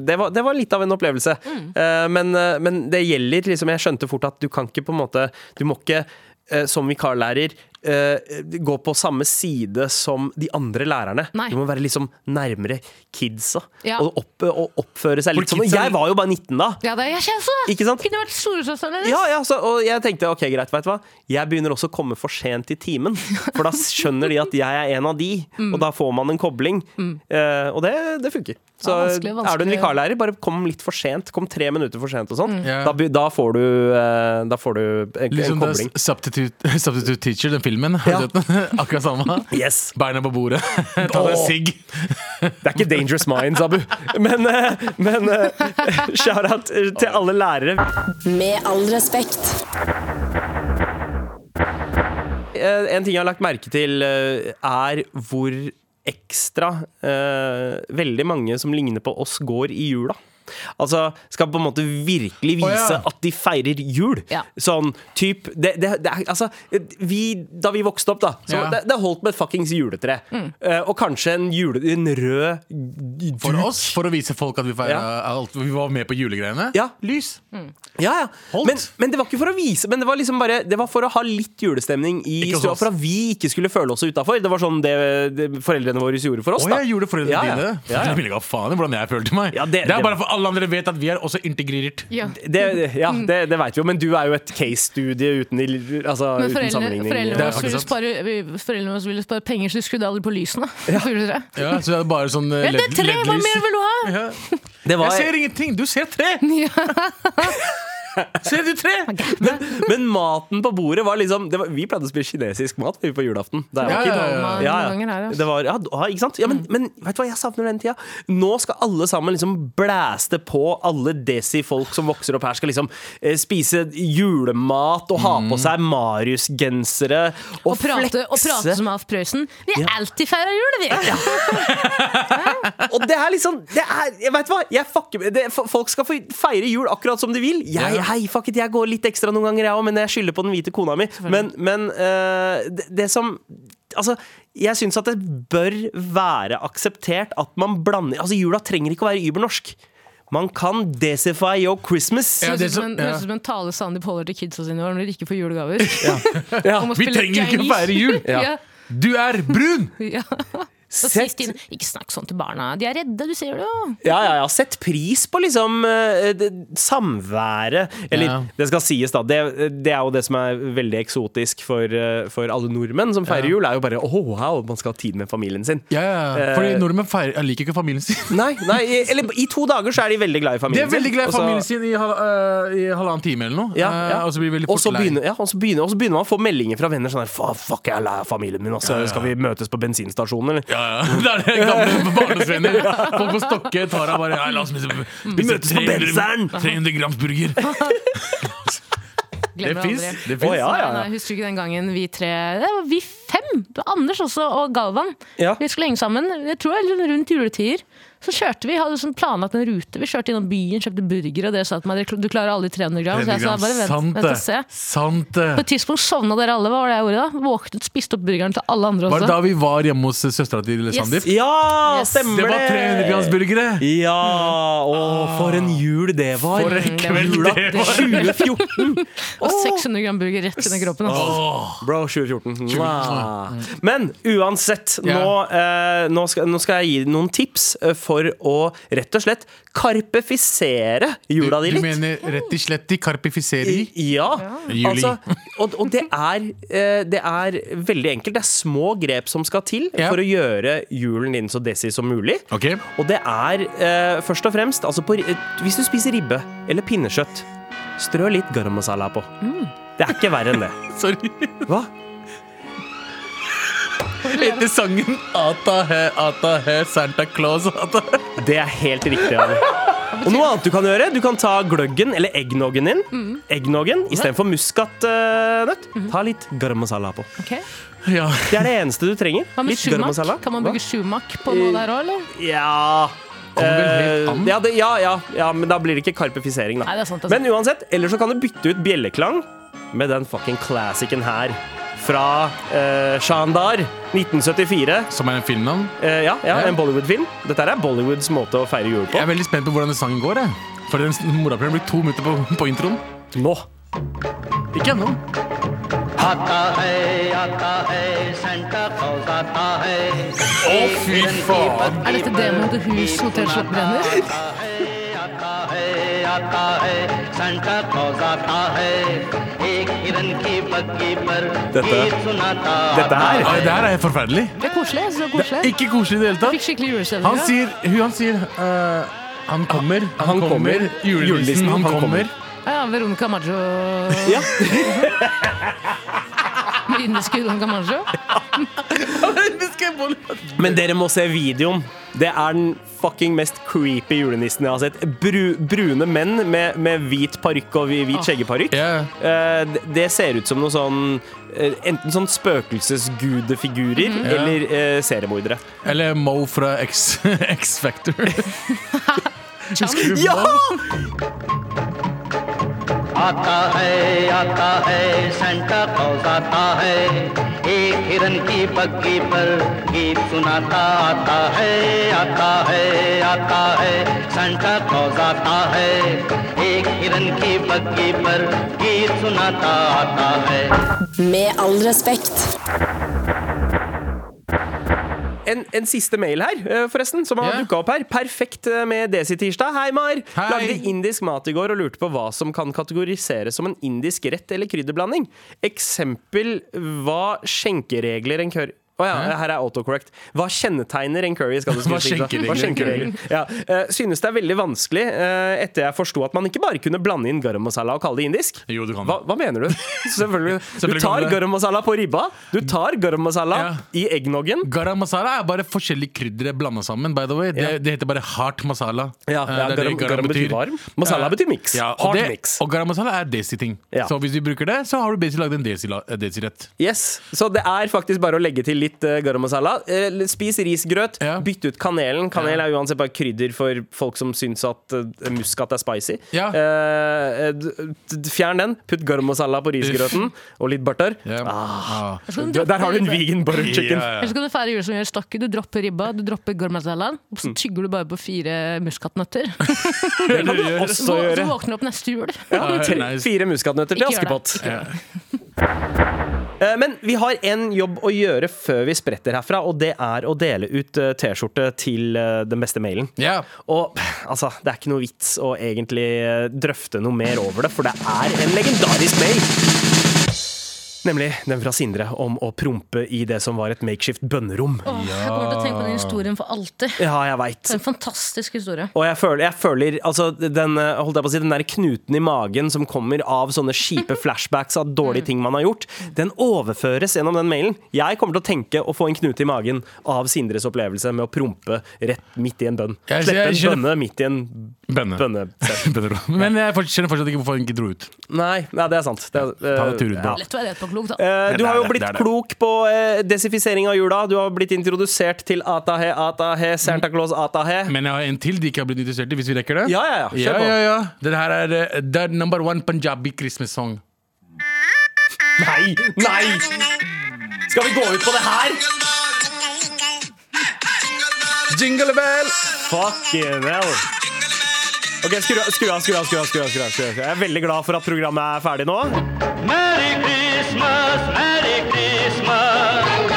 [SPEAKER 2] det, var, det var litt av en opplevelse.
[SPEAKER 4] Mm.
[SPEAKER 2] Eh, Men, eh, men det gjelder liksom Jeg skjønte fort at du kan ikke på en måte Du må ikke eh, som vikarlærer eh, gå på samme side som de andre lærerne.
[SPEAKER 4] Nei.
[SPEAKER 2] Du må være liksom nærmere kidsa
[SPEAKER 4] Ja.
[SPEAKER 2] og, opp, og oppføre seg
[SPEAKER 3] For
[SPEAKER 2] litt sånn. Og
[SPEAKER 3] kidsa-
[SPEAKER 2] Jeg var jo bare 19 da.
[SPEAKER 4] Ja, det er jeg kjenner det!
[SPEAKER 2] Ikke sant?
[SPEAKER 4] Kunne vært storesøsteren deres.
[SPEAKER 2] Ja, ja, så, og jeg tenkte ok, greit, vet du hva Jeg begynner også å komme for sent i timen For da skjønner de at jeg er en av de Og da får man en kobling Eh, Og det, det funker Så
[SPEAKER 4] Ja, vanskelig, vanskelig. Mm.
[SPEAKER 2] er du en vikarlærer, bare kom litt for sent Kom tre minutter for sent og sånn
[SPEAKER 3] Ja.
[SPEAKER 2] da, be- da får du, eh, da får du en,
[SPEAKER 3] Liksom
[SPEAKER 2] en
[SPEAKER 3] det
[SPEAKER 2] kobling
[SPEAKER 3] er substitute, [LAUGHS] substitute Teacher, den filmen. Har
[SPEAKER 2] Ja.
[SPEAKER 3] du sett den? [LAUGHS] Akkurat samme.
[SPEAKER 2] Yes,
[SPEAKER 3] Beina på bordet, [LAUGHS] ta deg en
[SPEAKER 2] Åh.
[SPEAKER 3] sigg.
[SPEAKER 2] det er ikke Dangerous Minds, Abu Men, eh, men eh, [LAUGHS] shout-out til alle lærere
[SPEAKER 1] Med all respekt.
[SPEAKER 2] Eh, En ting jeg har lagt merke til, eh, er hvor ekstra eh, veldig mange som ligner på oss, går i jula. Altså, skal på en måte virkelig vise
[SPEAKER 3] Å, ja.
[SPEAKER 2] at de feirer jul.
[SPEAKER 4] Ja.
[SPEAKER 2] Sånn typ det, det, det er, Altså, vi, da vi vokste opp, da, så
[SPEAKER 3] Ja.
[SPEAKER 2] det, det holdt med et fuckings juletre. Eh, og kanskje en, jule, en rød
[SPEAKER 3] For oss, for å vise folk at vi, feiret, alt, vi var med på julegreiene.
[SPEAKER 2] Ja.
[SPEAKER 3] Lys.
[SPEAKER 4] Mm.
[SPEAKER 2] Ja, ja.
[SPEAKER 3] Holdt.
[SPEAKER 2] Men, men det var ikke for å vise, men det var liksom bare Det var for å ha litt julestemning i
[SPEAKER 3] Ikke hos
[SPEAKER 2] stua.
[SPEAKER 3] oss.
[SPEAKER 2] For at vi ikke skulle føle oss utafor. Det var sånn det, det foreldrene våre gjorde for oss.
[SPEAKER 3] Å,
[SPEAKER 2] da.
[SPEAKER 3] jeg gjorde foreldrene
[SPEAKER 2] Ja, ja.
[SPEAKER 3] dine det.
[SPEAKER 2] Ja, ja.
[SPEAKER 3] Jeg ville ikke ha faen i hvordan jeg følte meg.
[SPEAKER 2] Ja, det-
[SPEAKER 3] det, er
[SPEAKER 2] det-
[SPEAKER 3] bare for alle andre vet at vi er også integrert.
[SPEAKER 4] Ja.
[SPEAKER 2] Det, ja, det, det veit vi jo, men du er jo et case-studie uten, i- altså,
[SPEAKER 4] Men
[SPEAKER 2] uten
[SPEAKER 4] foreldre,
[SPEAKER 2] sammenligning.
[SPEAKER 4] foreldrene,
[SPEAKER 3] Det er
[SPEAKER 4] våre
[SPEAKER 3] faktisk
[SPEAKER 4] ville
[SPEAKER 3] sant.
[SPEAKER 4] spare, vi- foreldrene våre ville spare penger, så de skrudde aldri på
[SPEAKER 2] [LAUGHS]
[SPEAKER 4] lysene. på juletreet.
[SPEAKER 3] Ja, så det er bare sånn eh,
[SPEAKER 4] Ja, det er
[SPEAKER 3] led-
[SPEAKER 4] tre! Hva
[SPEAKER 3] LED-lys.
[SPEAKER 4] mer vil du ha?
[SPEAKER 2] [LAUGHS]
[SPEAKER 3] Ja.
[SPEAKER 2] Det var-
[SPEAKER 3] Jeg ser ingenting! Du ser tre! ser du tre?
[SPEAKER 2] Men maten på bordet var liksom det var, Vi pleide å spise kinesisk mat vi, på julaften. Da jeg var
[SPEAKER 3] Ja,
[SPEAKER 2] kid.
[SPEAKER 3] ja, ja,
[SPEAKER 4] ja. Mm. Noen ganger her, altså.
[SPEAKER 2] Det var, ja, ah, ikke sant? Ja, men, men vet du hva, jeg savner den tida. Nå skal alle sammen liksom blæste på. Alle desi-folk som vokser opp her, skal liksom eh, spise julemat og ha
[SPEAKER 3] Mm.
[SPEAKER 2] på seg Marius-gensere og,
[SPEAKER 4] Og prate,
[SPEAKER 2] flekse.
[SPEAKER 4] og prate som Alf Prøysen. Vi
[SPEAKER 2] Ja.
[SPEAKER 4] alltid feirer jul, vi!
[SPEAKER 2] Og det er liksom det er, jeg Vet hva? Jeg fucker, med- det, f- folk skal få feire jul akkurat som de vil. Jeg,
[SPEAKER 3] Ja.
[SPEAKER 2] hei, fuck it, jeg går litt ekstra noen ganger, jeg òg, men jeg skylder på den hvite kona mi. Men, men eh, det, det som Altså, jeg syns at det bør være akseptert at man blander Altså, jula trenger ikke å være übernorsk. Man kan desify your Christmas.
[SPEAKER 3] Ja,
[SPEAKER 4] Høres
[SPEAKER 3] det
[SPEAKER 4] ut
[SPEAKER 3] er
[SPEAKER 4] som
[SPEAKER 3] så-
[SPEAKER 4] en-
[SPEAKER 3] ja.
[SPEAKER 4] høres ut som en tale Sandeep holder til kidsa sine når de ikke får julegaver. Om å
[SPEAKER 3] Vi
[SPEAKER 4] spille
[SPEAKER 3] trenger ikke å
[SPEAKER 4] Chinese.
[SPEAKER 3] feire jul!
[SPEAKER 4] [LAUGHS] Ja.
[SPEAKER 3] Du er brun!
[SPEAKER 4] Ja. Og
[SPEAKER 2] Sett-
[SPEAKER 4] sist inn, ikke snakk sånn til barna. De er redde, du ser det jo.
[SPEAKER 2] Ja, ja, ja. Sett pris på liksom eh, det- samværet. Eller
[SPEAKER 3] Ja.
[SPEAKER 2] det skal sies, da. Det, det er jo det som er veldig eksotisk for, eh, for alle nordmenn som feirer jul. er jo bare åh, wow, man skal ha tid med familien sin.
[SPEAKER 3] Ja, ja,
[SPEAKER 2] Eh,
[SPEAKER 3] ja. Fordi nordmenn feirer, jeg liker ikke
[SPEAKER 2] [LAUGHS]
[SPEAKER 3] familien sin.
[SPEAKER 2] Nei, nei, i- eller i to dager så er de veldig glad i
[SPEAKER 3] De
[SPEAKER 2] familien
[SPEAKER 3] er veldig glad i
[SPEAKER 2] og så-
[SPEAKER 3] familien sin i, hal øh, i halvannen time eller noe.
[SPEAKER 2] Ja,
[SPEAKER 3] Eh,
[SPEAKER 2] ja.
[SPEAKER 3] Og så blir de veldig
[SPEAKER 2] Og så
[SPEAKER 3] fort lei.
[SPEAKER 2] begynner, ja, og så begynner, og så begynner man å få meldinger fra venner sånn her "Fa- Fuck, jeg er lei av familien min, altså. Skal vi møtes på bensinstasjonen, eller?
[SPEAKER 3] Ja, [LAUGHS] ja. Det er det gamle
[SPEAKER 2] [LAUGHS]
[SPEAKER 3] barnesvenner. Folk på Stokke tar av bare ja, la oss spise,
[SPEAKER 2] Vi møtes på
[SPEAKER 3] 300
[SPEAKER 2] Benseren!"
[SPEAKER 3] 300 grams burger. Det
[SPEAKER 4] Glemmer
[SPEAKER 3] fins.
[SPEAKER 4] aldri.
[SPEAKER 3] Det
[SPEAKER 2] Å,
[SPEAKER 3] fins.
[SPEAKER 2] ja, ja,
[SPEAKER 4] Nei,
[SPEAKER 2] ja.
[SPEAKER 4] nei, husker du ikke den gangen vi tre Det var vi fem! Det var Anders også og Galvan.
[SPEAKER 2] Ja.
[SPEAKER 4] Vi skulle henge sammen. Jeg tror det var rundt juletider. Så kjørte vi, hadde sånn planlagt en rute. Vi kjørte innom byen, kjøpte burger, og det sa til meg du klarer aldri 300 gram. Så jeg sa bare vent,
[SPEAKER 3] Sant det.
[SPEAKER 4] vent og se.
[SPEAKER 3] Sant det.
[SPEAKER 4] På et tidspunkt sovna dere alle, hva var det jeg gjorde da? Våknet, spiste opp burgeren til alle andre
[SPEAKER 3] Var det
[SPEAKER 4] også.
[SPEAKER 3] da vi var hjemme hos eh, søstera til Sandeep?
[SPEAKER 2] Ja,
[SPEAKER 4] Yes.
[SPEAKER 2] stemmer
[SPEAKER 3] Det
[SPEAKER 2] det!
[SPEAKER 3] var 300 grams burgere!
[SPEAKER 2] Ja! Å, for en jul det var!
[SPEAKER 3] Ah. For en kveld
[SPEAKER 2] Jula
[SPEAKER 3] det var!
[SPEAKER 2] 2014!
[SPEAKER 3] [LAUGHS]
[SPEAKER 4] Og 600 gram burger rett under kroppen. Altså.
[SPEAKER 2] Bro, 2014. Mwah. Men uansett, nå, eh, nå, skal, nå skal jeg gi noen tips eh, for å rett og slett karpefisere
[SPEAKER 3] Du,
[SPEAKER 2] jula di
[SPEAKER 3] du
[SPEAKER 2] litt.
[SPEAKER 3] mener rett og slett i karpifiseri?
[SPEAKER 2] Ja.
[SPEAKER 3] Juli.
[SPEAKER 2] Altså, og og det, er, eh, det er veldig enkelt. Det er små grep som skal til
[SPEAKER 3] Ja.
[SPEAKER 2] for å gjøre julen din så desi som mulig.
[SPEAKER 3] Ok.
[SPEAKER 2] Og det er eh, først og fremst altså på, ri- Hvis du spiser ribbe eller pinnekjøtt, strø litt garam masala på.
[SPEAKER 4] Mm.
[SPEAKER 2] Det er ikke verre enn det.
[SPEAKER 3] [LAUGHS] Sorry.
[SPEAKER 2] Hva?
[SPEAKER 3] Heter sangen Ata he, ata he, Santa Claus ata he.
[SPEAKER 2] Det er helt riktig.
[SPEAKER 4] [LAUGHS]
[SPEAKER 2] Anne. Og noe annet du kan gjøre, du kan ta gløggen eller eggnoggen din.
[SPEAKER 4] Mm.
[SPEAKER 2] Eggnoggen istedenfor muskatnøtt. eh, Ta litt garam masala på.
[SPEAKER 4] Ok.
[SPEAKER 3] Ja.
[SPEAKER 2] Det er det eneste du trenger.
[SPEAKER 4] Hva med
[SPEAKER 2] Litt garam
[SPEAKER 4] shumak?
[SPEAKER 2] masala.
[SPEAKER 4] Kan man
[SPEAKER 2] Hva?
[SPEAKER 4] bruke shumak på noe der òg, eller?
[SPEAKER 2] Ja
[SPEAKER 3] Kommer vel helt
[SPEAKER 2] Eh,
[SPEAKER 3] an.
[SPEAKER 2] ja, det, ja, ja, ja, men da blir det ikke karpifisering, da.
[SPEAKER 4] Nei, det er sant, det er sant.
[SPEAKER 2] men uansett, eller så kan du bytte ut bjelleklang med den fucking classicen her. Fra eh, Shandar 1974.
[SPEAKER 3] Som er en filmnavn.
[SPEAKER 2] Eh, ja, ja,
[SPEAKER 3] Ja.
[SPEAKER 2] en Bollywood-film. Dette her er Bollywoods måte å feire jul
[SPEAKER 3] Jeg
[SPEAKER 2] på.
[SPEAKER 3] er veldig spent på hvordan den sangen går. Jeg. For den morapuleren blir to minutter på, på introen.
[SPEAKER 2] Nå!
[SPEAKER 3] Ikke ennå.
[SPEAKER 7] आता है आता है Santa Claus आता है
[SPEAKER 3] Å, fy faen!
[SPEAKER 4] Er dette demoen til Hus Hotell Slott Brenner?
[SPEAKER 7] आता है आता है आता है सेंटा क्लॉज आता है एक हिरन की बग्गी पर
[SPEAKER 2] Dette-
[SPEAKER 7] गीत सुनाता
[SPEAKER 2] Dette her
[SPEAKER 3] Oi, det her er helt forferdelig.
[SPEAKER 4] Det er koselig. jeg synes Det
[SPEAKER 3] Det er
[SPEAKER 4] er koselig.
[SPEAKER 3] ikke koselig i det hele
[SPEAKER 4] Jeg
[SPEAKER 3] tatt.
[SPEAKER 4] Fikk skikkelig
[SPEAKER 3] Han
[SPEAKER 4] julestemning. da.
[SPEAKER 3] sier, hun- han sier eh, Han kommer,
[SPEAKER 2] Han kommer.
[SPEAKER 3] Julenissen,
[SPEAKER 2] Julenissen,
[SPEAKER 3] han
[SPEAKER 2] han
[SPEAKER 3] kommer.
[SPEAKER 4] Ja, Veronica Maggio [LAUGHS]
[SPEAKER 2] Ja.
[SPEAKER 4] Marinesk Veronica Maggio.
[SPEAKER 2] Men dere må se videoen. Det er den fucking mest creepy julenissen jeg har sett. Bru, brune menn med, med hvit parykk og hvit
[SPEAKER 3] Ah.
[SPEAKER 2] skjeggeparykk.
[SPEAKER 3] [LAUGHS] Ja.
[SPEAKER 2] Eh, det- det ser ut som noe sånn eh, Enten sånn spøkelsesgudefigurer eller eh, seriemordere.
[SPEAKER 3] Eller Mo fra X, [LAUGHS] X Factor. Husker du
[SPEAKER 2] Ja!
[SPEAKER 3] Mo?
[SPEAKER 7] आता है आता है Santa Claus आता है एक हिरन की बग्गी पर गीत सुनाता आता है आता है आता है सेंटा क्लॉज आता है एक हिरन की बग्गी पर गीत सुनाता आता है
[SPEAKER 1] Med all respekt.
[SPEAKER 2] En, en siste mail her, eh, forresten, som har
[SPEAKER 3] Ja.
[SPEAKER 2] dukket dukka opp her. Perfekt eh, med Desi-tirsdag. Hei, Mar!
[SPEAKER 3] Hei.
[SPEAKER 2] Lagde indisk mat i går og lurte på hva som kan kategoriseres som en indisk rett eller krydderblanding. Eksempel hva skjenkeregler en curry Å ja, her er autocorrect. Hva kjennetegner en curry? Skal du
[SPEAKER 3] Hva
[SPEAKER 2] skrive, Sigrid?
[SPEAKER 3] skjenkeregler?
[SPEAKER 2] Hva skjenkeregler? Ja. eh, synes det er veldig vanskelig eh, etter jeg forsto at man ikke bare kunne blande inn garam masala og kalle det indisk.
[SPEAKER 3] Jo, du kan det.
[SPEAKER 2] hva, hva
[SPEAKER 3] [LAUGHS]
[SPEAKER 2] mener du? Selvfølgelig.
[SPEAKER 3] Selvfølgelig
[SPEAKER 2] Du tar
[SPEAKER 3] kan du det.
[SPEAKER 2] garam masala på ribba. Du tar garam masala
[SPEAKER 3] Ja.
[SPEAKER 2] i eggnoggen.
[SPEAKER 3] Garam masala er bare forskjellige kryddere blanda sammen. by the way Det, det heter bare hard masala.
[SPEAKER 2] Ja,
[SPEAKER 3] Eh,
[SPEAKER 2] ja,
[SPEAKER 3] det er
[SPEAKER 2] garam-
[SPEAKER 3] det
[SPEAKER 2] garam betyr varm. Masala
[SPEAKER 3] Eh,
[SPEAKER 2] betyr mix.
[SPEAKER 3] Ja, og
[SPEAKER 2] Hard
[SPEAKER 3] det-
[SPEAKER 2] mix.
[SPEAKER 3] Og garam masala er desi-ting.
[SPEAKER 2] Ja.
[SPEAKER 3] Så hvis du bruker det, så har du basically lagd en desi-la- eh, desi-rett.
[SPEAKER 2] Yes, Så det er faktisk bare å legge til litt eh, garam masala. Eh, spis risgrøt,
[SPEAKER 3] Ja.
[SPEAKER 2] bytt ut kanelen. Kanel
[SPEAKER 3] Ja.
[SPEAKER 2] er uansett bare krydder for folk som syns at eh, muskat er spicy.
[SPEAKER 3] Ja.
[SPEAKER 2] Eh, eh, d- d- fjern den, putt garam masala på risgrøten og litt butter.
[SPEAKER 3] Ja. Ah.
[SPEAKER 4] Så kan du
[SPEAKER 2] Du, der har du en
[SPEAKER 4] droppe-
[SPEAKER 2] vegan butter chicken.
[SPEAKER 4] Eller så kan du feire jul som gjør stokket. Du dropper ribba, du dropper garam masalaen, og så tygger du bare på fire muskatnøtter.
[SPEAKER 2] Mm. [LAUGHS] Det kan du
[SPEAKER 4] Så,
[SPEAKER 2] også
[SPEAKER 4] så
[SPEAKER 2] gjøre.
[SPEAKER 4] våkner du opp neste jul.
[SPEAKER 2] Ja,
[SPEAKER 3] Ja,
[SPEAKER 2] tre,
[SPEAKER 3] nice.
[SPEAKER 2] fire muskatnøtter til
[SPEAKER 4] Ikke gjør
[SPEAKER 2] Askepott.
[SPEAKER 4] det. Ikke gjør det.
[SPEAKER 2] Eh, Men vi har en jobb å gjøre før vi spretter herfra, og det er å dele ut eh, T-skjorte til eh, den beste mailen.
[SPEAKER 3] Ja.
[SPEAKER 2] Og altså, det er ikke noe vits å egentlig eh, drøfte noe mer over det, for det er en legendarisk mail. Nemlig den fra Sindre om å prompe i det som var et makeshift bønnerom.
[SPEAKER 4] Åh, Jeg kommer til å tenke på den historien for alltid.
[SPEAKER 2] Ja, jeg veit.
[SPEAKER 4] Det er en fantastisk historie.
[SPEAKER 2] Og jeg føler, jeg føler altså, den, eh, holdt jeg på å si, den der knuten i magen som kommer av sånne kjipe flashbacks av dårlige ting man har gjort, den overføres gjennom den mailen. Jeg kommer til å tenke å få en knute i magen av Sindres opplevelse med å prompe rett midt i en bønn.
[SPEAKER 3] Jeg-
[SPEAKER 2] Slippe
[SPEAKER 3] jeg-
[SPEAKER 2] en
[SPEAKER 3] jeg-
[SPEAKER 2] bønne midt i en
[SPEAKER 3] Bønne.
[SPEAKER 2] [LAUGHS] bønne.
[SPEAKER 3] Bønner. Men jeg forts- skjønner fortsatt ikke hvorfor han ikke dro ut.
[SPEAKER 2] Nei, nei, det er sant. Det, er-
[SPEAKER 3] Ta deg tur ut,
[SPEAKER 2] eh,
[SPEAKER 3] da.
[SPEAKER 4] Lett å være redd på klok, da.
[SPEAKER 2] Eh, du
[SPEAKER 3] Det er
[SPEAKER 2] har jo
[SPEAKER 3] det,
[SPEAKER 2] blitt
[SPEAKER 3] det er det.
[SPEAKER 2] klok på eh, desifisering av jula. Du har blitt introdusert til Atahe, Atahe, Santa
[SPEAKER 3] Mm.
[SPEAKER 2] Claus, Atahe.
[SPEAKER 3] Men jeg har en til de ikke har blitt interessert i, hvis vi rekker det.
[SPEAKER 2] Ja, ja, ja. Kjør
[SPEAKER 3] ja,
[SPEAKER 2] på.
[SPEAKER 3] ja, ja. Det her er eh, det er number one punjabi Christmas song.
[SPEAKER 2] Nei! Nei! Skal vi gå ut på det her?
[SPEAKER 3] Jingle bell!
[SPEAKER 2] Fucking hell. Ok, Skru av, skru av, skru av. skru av, skru av, skru av, skru av. Jeg er veldig glad for at programmet er ferdig nå.
[SPEAKER 7] Merry Christmas, Merry Christmas.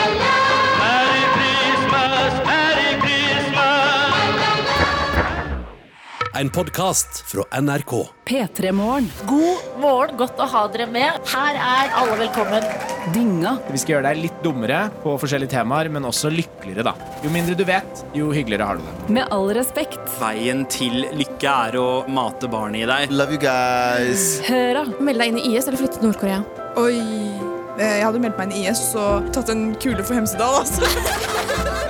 [SPEAKER 7] Merry Christmas, Merry Christmas.
[SPEAKER 8] En podkast fra NRK.
[SPEAKER 9] P3 Morgen.
[SPEAKER 10] God morgen, godt å ha dere med. Her er alle velkommen.
[SPEAKER 9] Dynga.
[SPEAKER 11] Vi skal gjøre deg litt dummere på forskjellige temaer, men også lykkeligere, da. Jo mindre du vet, jo hyggeligere har du det.
[SPEAKER 9] Med all respekt.
[SPEAKER 6] Veien til lykke er å mate barnet i deg.
[SPEAKER 5] Love you guys.
[SPEAKER 9] Høra.
[SPEAKER 10] Meld deg inn i IS eller flytte til Nord-Korea.
[SPEAKER 12] Oi. eh, Jeg hadde meldt meg inn i IS og tatt en kule for Hemsedal, altså.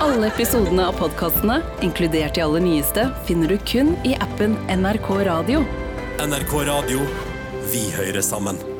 [SPEAKER 9] Alle episodene av podkastene, inkludert de aller nyeste, finner du kun i appen NRK Radio.
[SPEAKER 8] NRK Radio. Vi hører sammen.